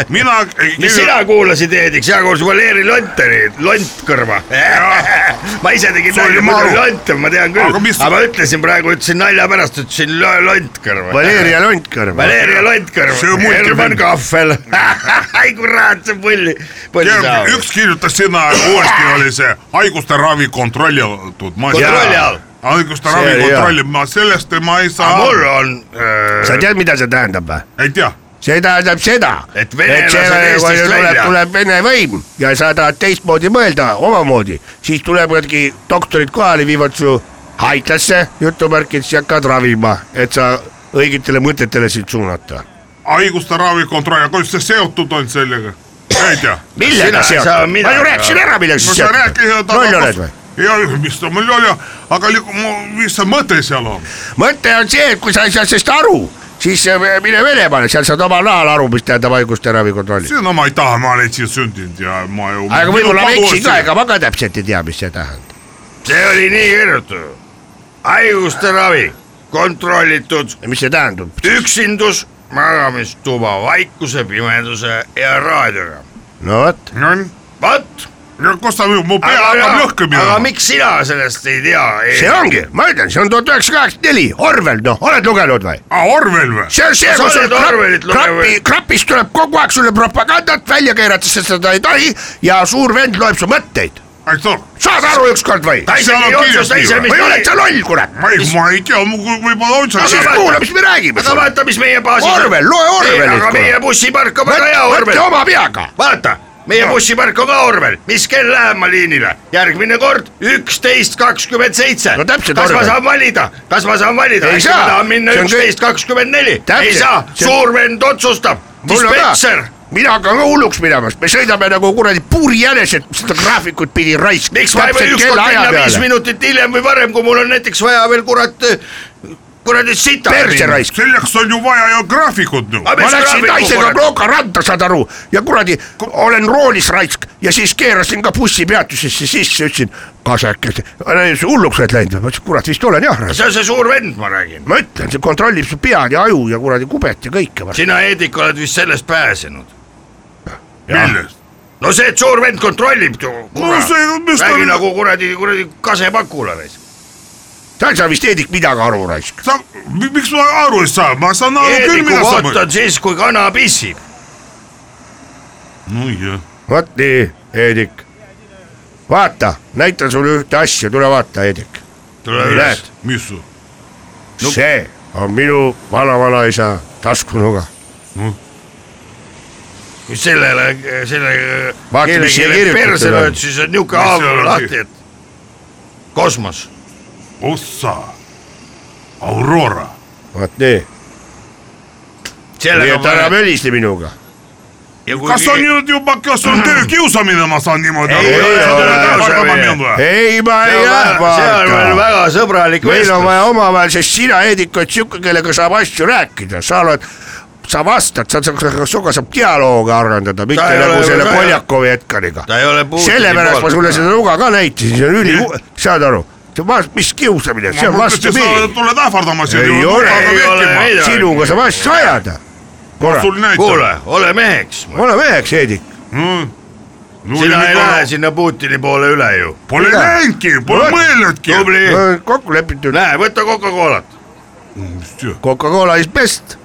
mina .
mis sina kuulasid , Heediks , hea kuulsin Valeri Lonteri , lont kõrva . <laughs> ma ise tegin
See oli
nalja , mul
maru.
oli lont , ma tean küll ,
Aga mis-
aga ma ütlesin praegu , ütlesin nalja pärast , ütlesin lo- lont kõrva .
Valeria Lontkõrv .
Valeria Lont
See on
kõrva ,
multifilm.
Herman Kahvel . <laughs> ai kurat , see on pull , pull .
üks kirjutas sinna uuesti oli see haiguste ravi kontrollitud .
Kontrolli all.
haiguste
See
ravi
oli hea.
kontrolli , ma sellest ma ei saa .
mul on äh,
sa tead , mida see tähendab või ?
ei tea ,
see tähendab seda ,
Et venelased Eestist
tuleb
välja. ,
tuleb vene võim ja sa tahad teistmoodi mõelda , omamoodi , siis tulevadki doktorid kohale , viivad su haiglasse jutumärkides ja hakkavad ravima , et sa õigetele mõtetele sind suunata .
haiguste ravi kontroll , kuidas see seotud on sellega ? ei tea .
Sina
millega
ei saa
seotud ? ma
midagi
ju rääkisin ära , millega
no
sa
sa rääkisid .
seotud . loll oled või ??
ja mis ta mul oli , aga li- mu- mis see mõte seal on ?
mõte on see , et kui sa ei saa sellest aru , siis äh, mine Venemaale , seal saad omal nahal aru , mis tähendab haiguste ravikontrolli .
seda ma ei taha , ma olen siin sündinud ja ma ju .
aga võib-olla ma eksin ka , ega ma ka täpselt ei tea , mis see tähendab .
see oli nii kirjutatud . haiguste ravi , kontrollitud
mis see tähendab ?
üksindus , magamistuba vaikuse , pimeduse ja raadioga .
no vot ,
vot .
no kus ta , mu pea hakkab lõhki
aga
minema .
miks sina sellest ei tea ?
see ongi , ma ütlen , see on tuhat üheksasada kaheksakümmend neli , Orwell , noh , oled lugenud või ?
Ah, Orwell või ?
see on see ,
Sa
kus sul
oled Orwellit
krapi ,
lugenud või?
krapi , krapist tuleb kogu aeg sulle propagandat välja keerata , sest seda ei tohi ja suur vend loeb su mõtteid .
aitäh .
saad aru ükskord või ?
ta ise
seal on
ei
kirjas
otsusta
nii
ise , mis
või oled sa loll , kurat ?
ma ei , ma ei tea , võib-olla on
no siis
seal .
kuula , mis me räägime
aga
sulle .
vaata , mis meie baasis
Orwell , loe Orwellit .
aga meie bussipark on väga hea
võtke
Orwell .
oma peaga .
vaata , meie bussipark on ka Orwell , mis kell läheb ma liinile , järgmine kord üksteist kakskümmend seitse .
No täpselt,
kas ma
Orwell.
saan valida , kas ma saan valida ,
Ei
äkki
saa.
ma tahan minna
See on kõik-
üksteist kakskümmend neli , ei
Täpselt.
saa ,
See on-
suur vend otsustab , dispetšer
mina hakkan ka hulluks minema , sest me sõidame nagu kuradi puurijänesed seda graafikut pidi raisk .
miks ma ei või ükskord minna viis minutit hiljem või varem , kui mul on näiteks vaja veel kurat , kuradi sita .
perse raisk .
selleks on ju vaja ju graafikut ju .
ma läksin naisega . Plooka randa , saad aru , ja kuradi , olen roolis raisk ja siis keerasin ka bussipeatusesse sisse , ütlesin , kasakese , hulluks oled läinud või , ma ütlesin , kurat vist olen jah .
see on see suur vend , ma räägin .
ma ütlen , see kontrollib su pead ja aju ja kuradi kubet ja kõike .
sina , Heedik , oled vist sellest pääsenud .
millest ?
no see , et suur vend kontrollib .
no see , mis ta
räägi . nagu kuradi , kuradi kasepakula .
sa ei saa vist Heedik midagi aru raisk .
sa , miks ma aru ei saa , ma saan aru küll ,
Heediku
mida sa
koht
mõtled .
on siis , kui kana pissib .
nojah ,
vot nii , Heedik . vaata , näitan sulle ühte asja , tule vaata , Heedik .
tule
näed
üles ,,
mis su-
no. see on minu vanavanaisa taskunuga .
sellele , sellele .
Vaata, mis siia kirjutatud on.
siis on niuke haav lahti , et kosmos .
ossa , Aurora ,
vot nii , nii
sellega
et ära mölise minuga .
kas on nüüd juba , kas on töökiusamine , ma saan niimoodi
Ei ole töökiusamine.
aru ?
ei , ma ei
seal on
arva .
väga sõbralik
meil on
vestlus .
vaja omavahel , sest sina , Heedik , oled siuke , kellega saab asju rääkida , sa oled , sa vastad , sa , sinuga saab dialoogi arendada , mitte
ei ole
nagu
ju-
selle
ta ei ole-
Poljakovi Edgariga .
ta ei ole puudu .
sellepärast ma sulle seda nuga ka näitasin , see on üli , saad aru , see on vastu , mis kiusamine , see on vastupidi .
tuled ähvardama siin .
ei ole ,
ei ole midagi.
sinuga saab asju ajada . korra ,
sul näitab .
kuule , ole meheks .
ole meheks , Heidik .
sina ei lähe sinna Putini poole üle ju .
Pole
Mida?
näinudki , pole
Vot.
mõelnudki .
tubli ,
kokku lepitud ,
näe , võta Coca-Colat .
Coca-Cola is best .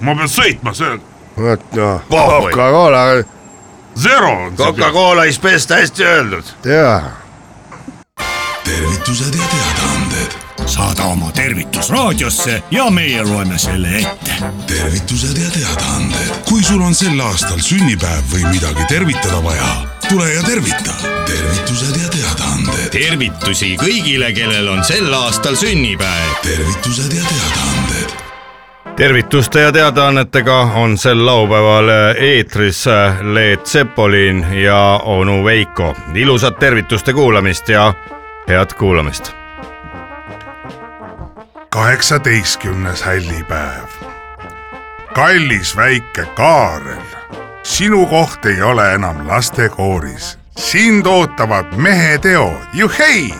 ma pean sõitma seal ,
vot noh ,
Pohhui.
Coca-Cola ,
zero on see .
Coca-Cola is best , hästi öeldud .
jaa .
tervitused ja teadaanded ,
saada oma tervitus raadiosse ja meie loeme selle ette .
tervitused ja teadaanded . kui sul on sel aastal sünnipäev või midagi tervitada vaja , tule ja tervita . tervitused ja teadaanded ,
tervitusi kõigile , kellel on sel aastal sünnipäev .
tervitused ja teadaanded .
tervituste ja teadaannetega on sel laupäeval äh, eetris Leet Sepolin ja onu Veiko . ilusat tervituste kuulamist ja head kuulamist .
kaheksateistkümnes hällipäev . kallis väike Kaarel , sinu koht ei ole enam lastekooris , sind ootavad meheteod , juhei .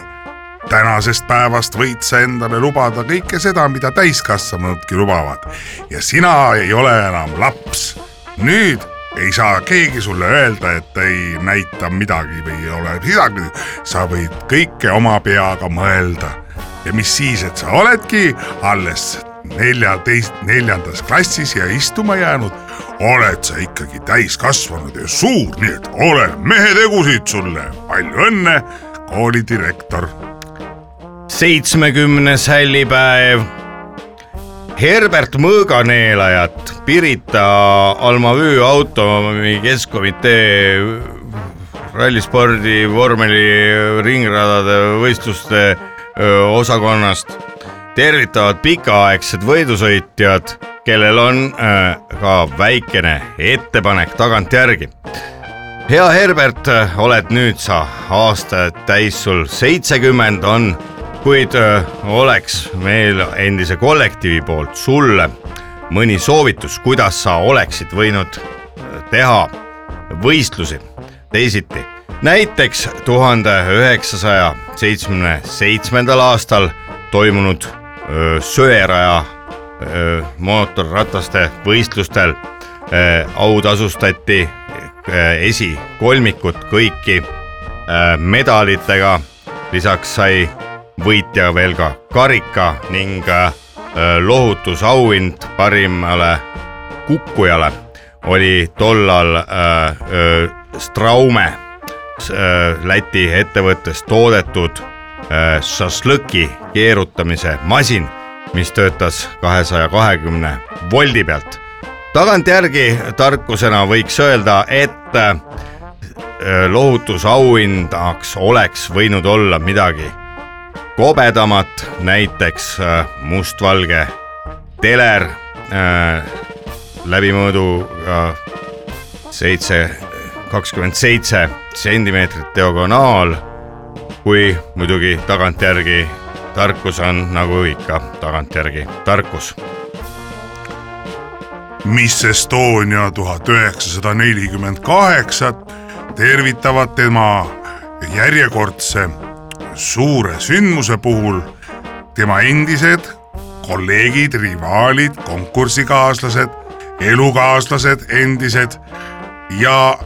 tänasest päevast võid sa endale lubada kõike seda , mida täiskasvanudki lubavad ja sina ei ole enam laps . nüüd ei saa keegi sulle öelda , et ei näita midagi või ei ole midagi , sa võid kõike oma peaga mõelda ja mis siis , et sa oledki alles neljateist , neljandas klassis ja istuma jäänud , oled sa ikkagi täiskasvanud ja suur , nii et ole mehetegusid sulle , palju õnne , koolidirektor .
seitsmekümnes hällipäev . Herbert Mõõganeelajat Pirita Almavüü autonomi keskkomitee rallispordi vormeli ringradade võistluste öö, osakonnast tervitavad pikaaegsed võidusõitjad , kellel on öö, ka väikene ettepanek tagantjärgi hea Herbert , oled nüüd sa aasta täis , sul seitsekümmend on , kuid öö, oleks meil endise kollektiivi poolt sulle mõni soovitus , kuidas sa oleksid võinud äh, teha võistlusi teisiti . näiteks tuhande üheksasaja seitsmekümne seitsmendal aastal toimunud öö, Söeraja öö, mootorrataste võistlustel öö, autasustati öö, esikolmikut kõiki öö, medalitega , lisaks sai võitja veel ka karika ning öö, lohutusauhind parimale kukkujale oli tollal äh, äh, Straume äh, Läti ettevõttes toodetud äh, šašlõki keerutamise masin , mis töötas kahesaja kahekümne voldi pealt . tagantjärgi tarkusena võiks öelda , et äh, lohutusauhinnaks oleks võinud olla midagi kobedamat , näiteks äh, mustvalge teler äh, läbimõõdu äh, seitse , kakskümmend seitse sentimeetrit diagonaal . kui muidugi tagantjärgi tarkus on nagu ikka tagantjärgi tarkus .
Miss Estonia tuhat üheksasada nelikümmend kaheksat tervitavad tema järjekordse suure sündmuse puhul tema endised kolleegid , rivaalid , konkursikaaslased , elukaaslased , endised ja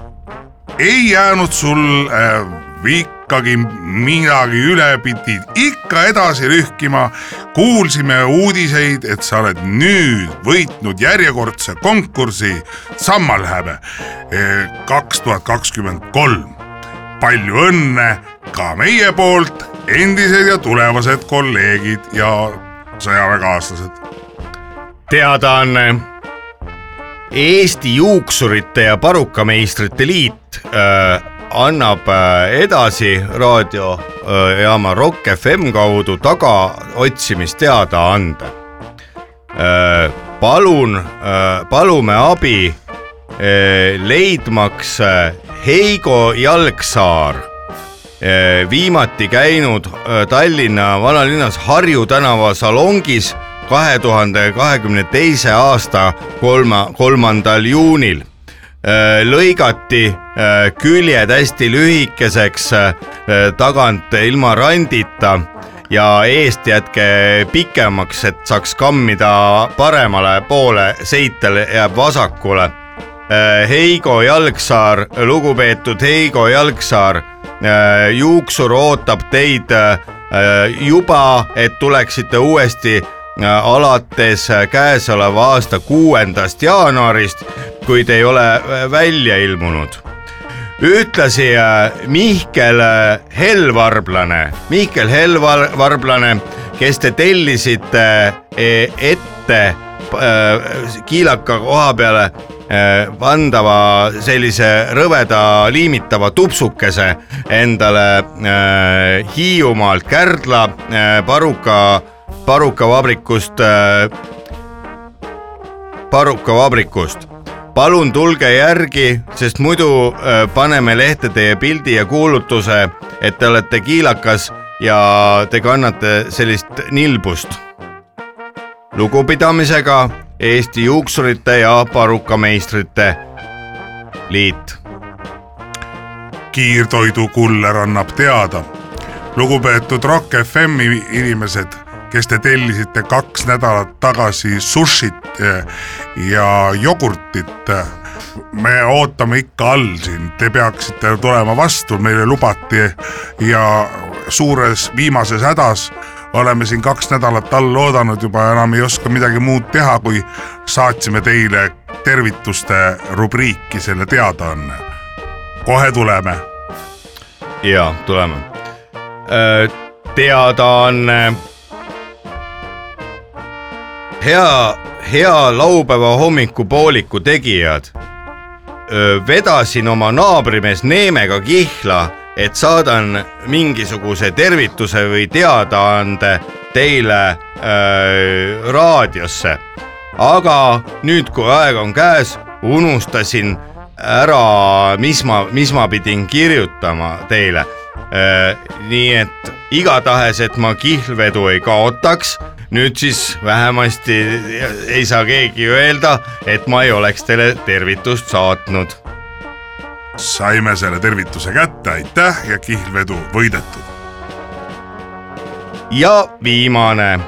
ei jäänud sul äh, Viik- ikkagi midagi üle pidid ikka edasi rühkima . kuulsime uudiseid , et sa oled nüüd võitnud järjekordse konkursi Sammalhäbe äh, kaks tuhat kakskümmend kolm . palju õnne ka meie poolt , endised ja tulevased kolleegid ja sõjaväekaaslased .
teadaanne . äh, Eesti Juuksurite ja Parukameistrite Liit äh, annab äh, edasi raadiojaama äh, Rock FM kaudu tagaotsimisteadaande äh, . palun äh, , palume abi äh, leidmaks äh, Heigo Jalgsaar Eh, viimati käinud eh, Tallinna vanalinnas Harju tänava salongis kahe tuhande kahekümne teise aasta kolma , kolmandal juunil . lõigati eh, küljed hästi lühikeseks , tagant ilma randita ja eest jätke pikemaks , et saaks kammida paremale poole , seitel jääb vasakule Äh, Heigo Jalgsaar , lugupeetud Heigo Jalgsaar , juuksur ootab teid äh, juba , et tuleksite uuesti äh, alates äh, käesoleva aasta kuuendast jaanuarist , kuid ei ole äh, välja ilmunud ühtlasi äh, Mihkel äh, Helvarblane , Mihkel Helvarblane , kes te tellisite eh, ette äh, kiilaka koha peale eh, pandava sellise rõveda liimitava tupsukese endale eh, Hiiumaalt Kärdla eh, paruka , parukavabrikust eh, parukavabrikust . palun tulge järgi , sest muidu äh, paneme lehte teie pildi ja kuulutuse , et te olete kiilakas ja te kannate sellist nilbust . lugupidamisega Eesti Juuksurite ja Parukameistrite Liit .
kiirtoidu kuller annab teada . lugupeetud Rock FM-i inimesed , kes te tellisite kaks nädalat tagasi sushit eh, ja jogurtit , me ootame ikka all siin , te peaksite tulema vastu , meile lubati ja suures viimases hädas oleme siin kaks nädalat all oodanud juba , enam ei oska midagi muud teha , kui saatsime teile tervituste rubriiki selle teadaanne . kohe tuleme
ja tuleme . teadaanne . hea , hea laupäeva hommikupooliku tegijad . vedasin oma naabrimees Neemega kihla , et saadan mingisuguse tervituse või teadaande teile öö, raadiosse . aga nüüd , kui aeg on käes , unustasin ära , mis ma , mis ma pidin kirjutama teile . Äh, nii et igatahes , et ma kihlvedu ei kaotaks , nüüd siis vähemasti ei saa keegi öelda , et ma ei oleks teile tervitust saatnud .
saime selle tervituse kätte , aitäh ja kihlvedu võidetud .
ja viimane äh,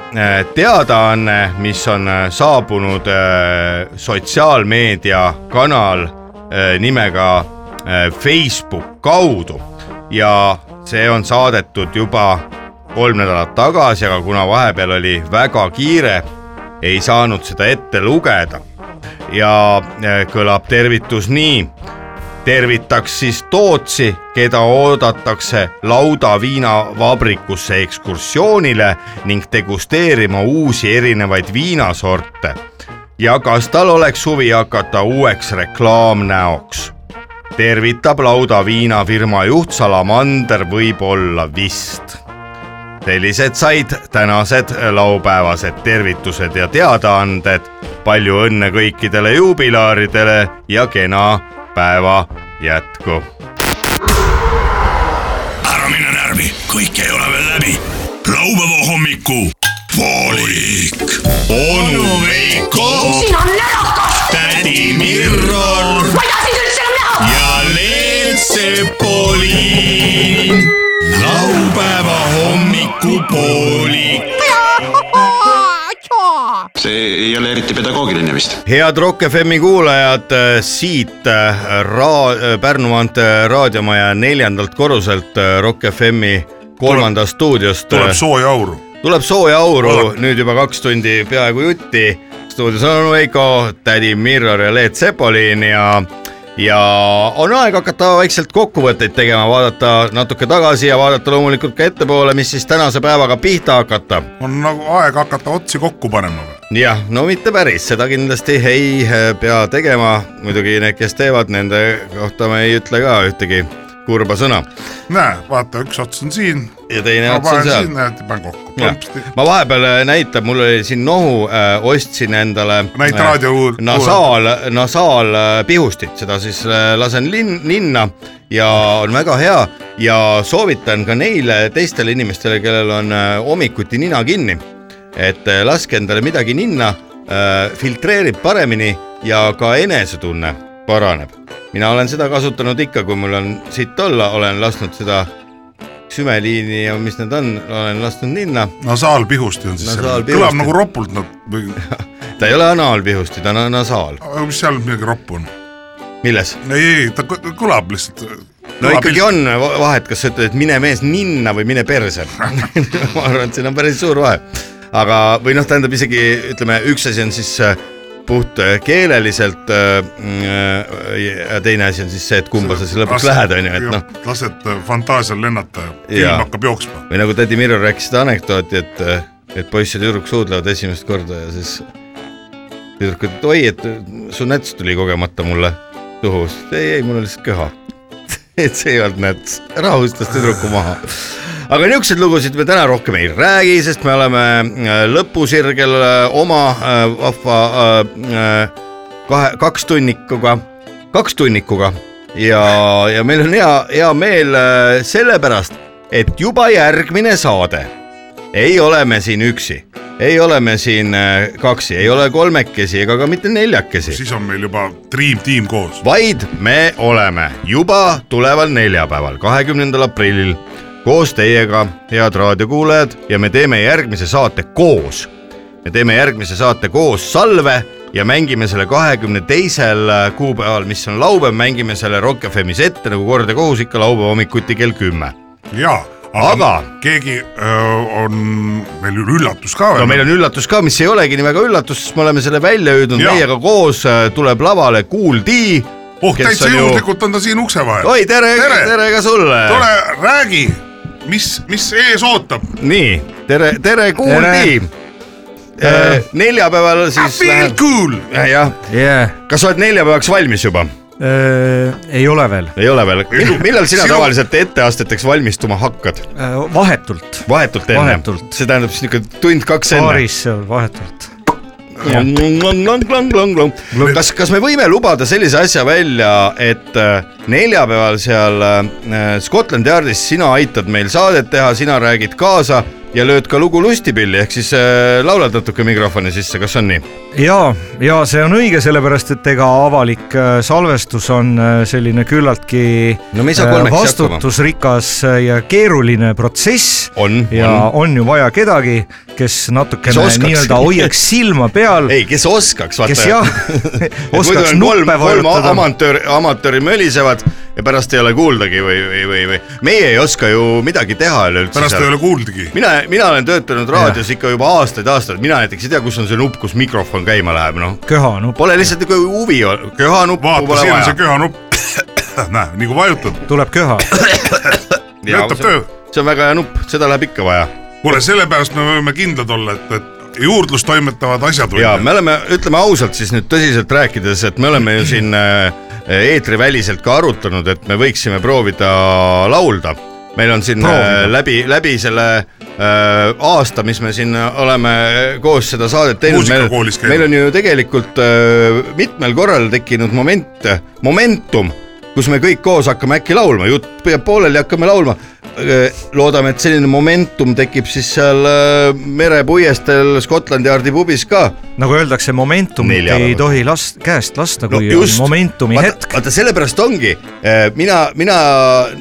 teadaanne , mis on äh, saabunud äh, sotsiaalmeedia kanal äh, nimega äh, Facebook kaudu ja see on saadetud juba kolm nädalat tagasi , aga kuna vahepeal oli väga kiire , ei saanud seda ette lugeda . ja äh, kõlab tervitus nii tervitaks siis Tootsi , keda oodatakse laudaviinavabrikusse ekskursioonile ning degusteerima uusi erinevaid viinasorte . ja kas tal oleks huvi hakata uueks reklaamnäoks ? tervitab laudaviinafirma juht Salamander võib-olla vist . sellised said tänased laupäevased tervitused ja teadaanded . palju õnne kõikidele juubilaaridele ja kena päeva jätku .
ära mine närvi , kõik ei ole veel läbi . laupäeva hommiku poolik . onu Veiko ,
siin on närakas ,
tädi Mirro
ma ei taha sind üldse enam näha .
ja Leelsepoliin . laupäeva hommiku poolik .
jaa , tšaa .
see ei ole eriti pedagoogiline vist .
head Rock FM-i kuulajad , siit äh, raa- , Pärnu maantee raadiomaja neljandalt korruselt äh, Rock FM-i kolmandast stuudiost . äh,
tuleb sooja auru .
tuleb sooja auru , nüüd juba kaks tundi peaaegu jutti . stuudios on Veiko , tädi Mirror ja Leet Sepolin ja , ja on aeg hakata vaikselt kokkuvõtteid tegema , vaadata natuke tagasi ja vaadata loomulikult ka ettepoole , mis siis tänase päevaga pihta hakata
on nagu aeg hakata otsi kokku panema või ?
jah , no mitte päris , seda kindlasti ei eh, pea tegema , muidugi need , kes teevad , nende kohta me ei ütle ka ühtegi kurba sõna .
näe , vaata , üks ots on siin .
ja teine ots on seal.
näed , panen kokku .
ma vahepeal eh, näitab , mul oli siin nohu , ostsin endale .
Näita raadiokuul-
nasaal , nasaalpihustit , äh, seda siis eh, lasen linn , ninna ja on väga hea ja soovitan ka neile teistele inimestele , kellel on eh, hommikuti nina kinni , et eh, laske endale midagi ninna , filtreerib paremini ja ka enesetunne paraneb . mina olen seda kasutanud ikka , kui mul on sitt olla , olen lasknud seda sümeliini ja mis need on , olen lasknud ninna
nasaalpihusti on siis .
Nasaalpihusti.
kõlab nagu ropult nad või ,
<laughs> ta ei ole anaalpihusti , ta on nasaal .
aga mis seal midagi roppu on ?
milles ?
ei , ei , ta kõ- kõlab lihtsalt .
no ikkagi on va- vahet , kas sa ütled , et mine mees ninna või mine perse . <laughs> ma arvan , et siin on päris suur vahe . aga , või noh , tähendab isegi ütleme , üks asi on siis äh, puht äh, keeleliselt äh, mm, ja teine asi on siis see , et kumba sa siis lõpuks lähed , on ju , et noh .
lased äh, fantaasial lennata ja
Jaa.
film hakkab jooksma .
või nagu tädi Mirro rääkis seda anekdooti , et , et poiss ja tüdruk suudlevad esimest korda ja siis tüdruk ütleb , et oi , et su näts tuli kogemata mulle suhu , siis ta, ei , ei , mul oli lihtsalt köha . <laughs> et see ei olnud näts , rahustas tüdruku maha . aga niisuguseid lugusid me täna rohkem ei räägi , sest me oleme äh, lõpusirgel äh, oma äh, vahva äh, äh, kahe , kaks tunnikuga , kaks tunnikuga ja , ja meil on hea , hea meel äh, sellepärast , et juba järgmine saade ei ole me siin üksi , ei ole me siin äh, kaksi , ei ole kolmekesi ega ka mitte neljakesi .
siis on meil juba Dream Team koos .
vaid me oleme juba tuleval neljapäeval , kahekümnendal aprillil koos teiega , head raadiokuulajad , ja me teeme järgmise saate koos . me teeme järgmise saate koos Salve ja mängime selle kahekümne teisel kuupäeval , mis on laupäev , mängime selle Rock FM-is ette nagu kord ja kohus ikka laupäeva hommikuti kell kümme .
jaa ,
aga
keegi öö, on meil ju üllatus ka
no meil on üllatus ka , mis ei olegi nii väga üllatus , sest me oleme selle välja hüüdnud ,
Jaa.
meiega koos äh, tuleb lavale Kool D .
oh , täitsa juhuslikult on ta siin ukse vahel .
Oi, tere- tere ka sulle.
tule räägi , mis , mis ees ootab .
nii , tere , tere Kool D . neljapäeval siis . I feel
cool .
jah , kas sa oled neljapäevaks valmis juba ?
ei ole veel .
ei ole veel , millal sina
Sinu-
tavaliselt etteasteteks valmistuma hakkad ?
äh, vahetult .
vahetult enne
Vahetult. ,
see tähendab siis niisugune tund-kaks enne .
paaris seal vahetult .
kas , kas me võime lubada sellise asja välja , et äh, neljapäeval seal äh, Scotland Yardis sina aitad meil saadet teha , sina räägid kaasa ja lööd ka lugu lustipilli , ehk siis äh, laulad natuke mikrofoni sisse , kas on nii ?
ja , ja see on õige , sellepärast et ega avalik äh, salvestus on äh, selline küllaltki
No me ei saa
äh,
kolmekesi hakkama.
vastutusrikas äh, ja keeruline protsess .
on ,
ja on. on ju vaja kedagi , kes
Kes
natukene
oskaks.
nii-öelda hoiaks silma peal .
ei , kes oskaks , vaata .
kes jah , <laughs>
muidu
oskaks
on kolm ,
nuppe
kolm a-
vajutada .
amatöör , amatööri mölisevad ja pärast ei ole kuuldagi või , või , või , või meie ei oska ju midagi teha üleüldse .
pärast ei ole kuuldagi .
mina , mina olen töötanud raadios ikka juba aastaid-aastaid , mina näiteks ei tea , kus on see nupp , kus mikrofon käima läheb , noh .
köha nupp .
Pole lihtsalt nagu huvi , köhanuppu
vaata ,
pole
siin on see
vaja .
köhanupp . näe , nii kui vajutad ,
tuleb
<coughs>
köha .
töötab töö .
see on väga hea nupp , seda läheb ikka vaja .
kuule , sellepärast me võime kindlad olla , et , et juurdlust toimetavad
ja
asjatundjad .
me oleme , ütleme ausalt siis nüüd tõsiselt rääkides , et me oleme ju siin äh, eetriväliselt ka arutanud , et me võiksime proovida laulda . meil on siin äh,
Proovida.
läbi , läbi selle äh, aasta , mis me siin oleme äh, koos seda saadet teinud , meil,
Muusikakoolis käinud.
meil on ju tegelikult äh, mitmel korral tekkinud moment , momentum , kus me kõik koos hakkame äkki laulma , jutt jääb pooleli , hakkame laulma . loodame , et selline momentum tekib siis seal äh, merepuiestel Scotland Yardi pubis ka
nagu öeldakse , momentumit
Neljapäeval.
ei tohi last , käest lasta ,
no
kui on
just ,
momentumi hetk .
vaata sellepärast ongi , mina , mina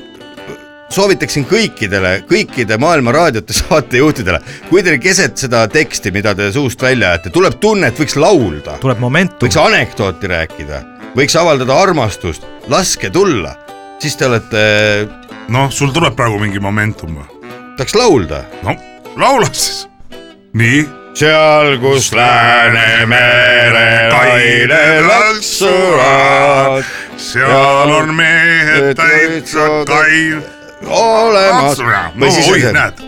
Äh, soovitaksin kõikidele , kõikide maailma raadiote <laughs> saatejuhtidele , kui teil keset seda teksti , mida te suust välja ajate , tuleb tunne , et võiks laulda ,
tuleb momentum ,
võiks anekdooti rääkida , võiks avaldada armastust , laske tulla , siis te olete ,
noh , sul tuleb praegu mingi momentum või ?
tahaks laulda .
no laula siis . nii .
seal , kus Läänemere
kaine laksuvad , seal on mehed täitsa kain- .
olemas
no oi , näed ,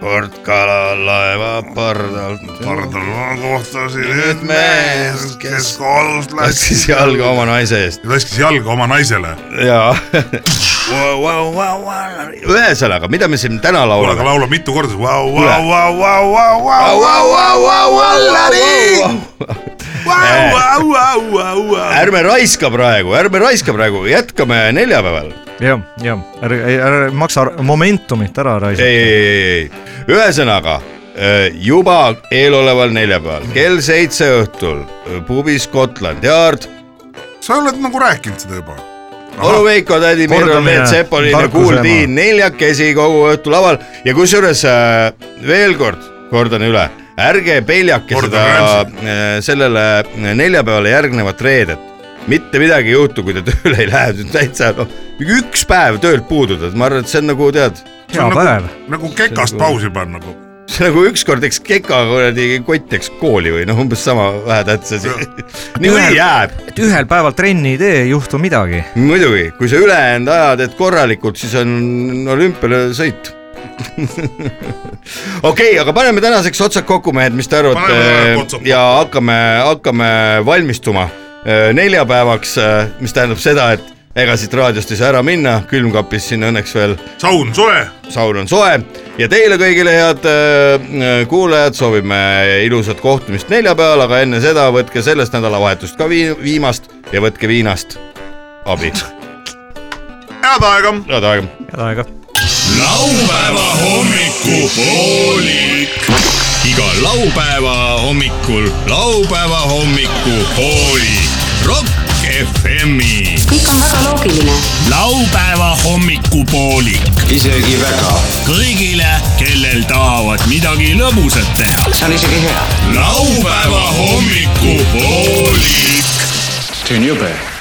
kord kala Äh, laeva pardalt .
pardal ma kohtasin üht meest , kes kodus
laskis jalga oma naise eest .
laskis jalga oma naisele .
jaa . <laughs> ühesõnaga , mida me siin täna
kuule , aga
laulame ?
laula mitu korda .
Kuule. ärme raiska praegu , ärme raiska praegu , jätkame neljapäeval .
jah , jah , ärge , ärge maksa momentumit ära
ei ,
raisata .
ei , ei , ei , ühesõnaga äh, juba eeloleval neljapäeval kell seitse õhtul äh, pubis Scotland Yard ,
sa oled nagu rääkinud seda juba .
Olu Veiko , tädi Mirro ,
Kordamine,
Leet Sepolin ja
tarkuse ema.
Kuuldiin neljakesi kogu õhtu laval ja kusjuures äh, veel kord kordan üle , ärge peljake
Kordan
seda äh, sellele neljapäevale järgnevat reedet mitte midagi ei juhtu , kui te <laughs> tööle ei lähe , täitsa noh , üks päev töölt puududa , ma arvan , et see on nagu tead ,
hea päev ,
nagu kekast pausi panna nagu. .
see nagu ükskord , eks keka kuradi kott , eks kooli või noh , umbes sama vähetähtis asi . <laughs> niikuinii jääb ,
et ühel päeval trenni ei tee , ei juhtu midagi .
muidugi , kui sa ülejäänud aja teed korralikult , siis on olümpiale sõit . <laughs> okei , aga paneme tänaseks otsad kokku , mehed , mis te
Paneme praegu otsad
arvate
kokku.
ja hakkame , hakkame valmistuma eh, neljapäevaks , mis tähendab seda , et ega siit raadiost ei saa ära minna , külmkapis siin õnneks veel
saun soe ,
saun on soe ja teile kõigile head äh, kuulajad soovime ilusat kohtumist neljapäeval , aga enne seda võtke sellest nädalavahetust ka vii- viimast ja võtke viinast abi .
head aega
head aega .
head aega
laupäeva hommikupoolik . iga laupäeva hommikul laupäeva hommikupoolik . Rock FM-i .
kõik on väga loogiline .
laupäeva hommikupoolik
isegi väga .
kõigile , kellel tahavad midagi lõbusat teha .
see on isegi hea .
laupäeva hommikupoolik .
see on jube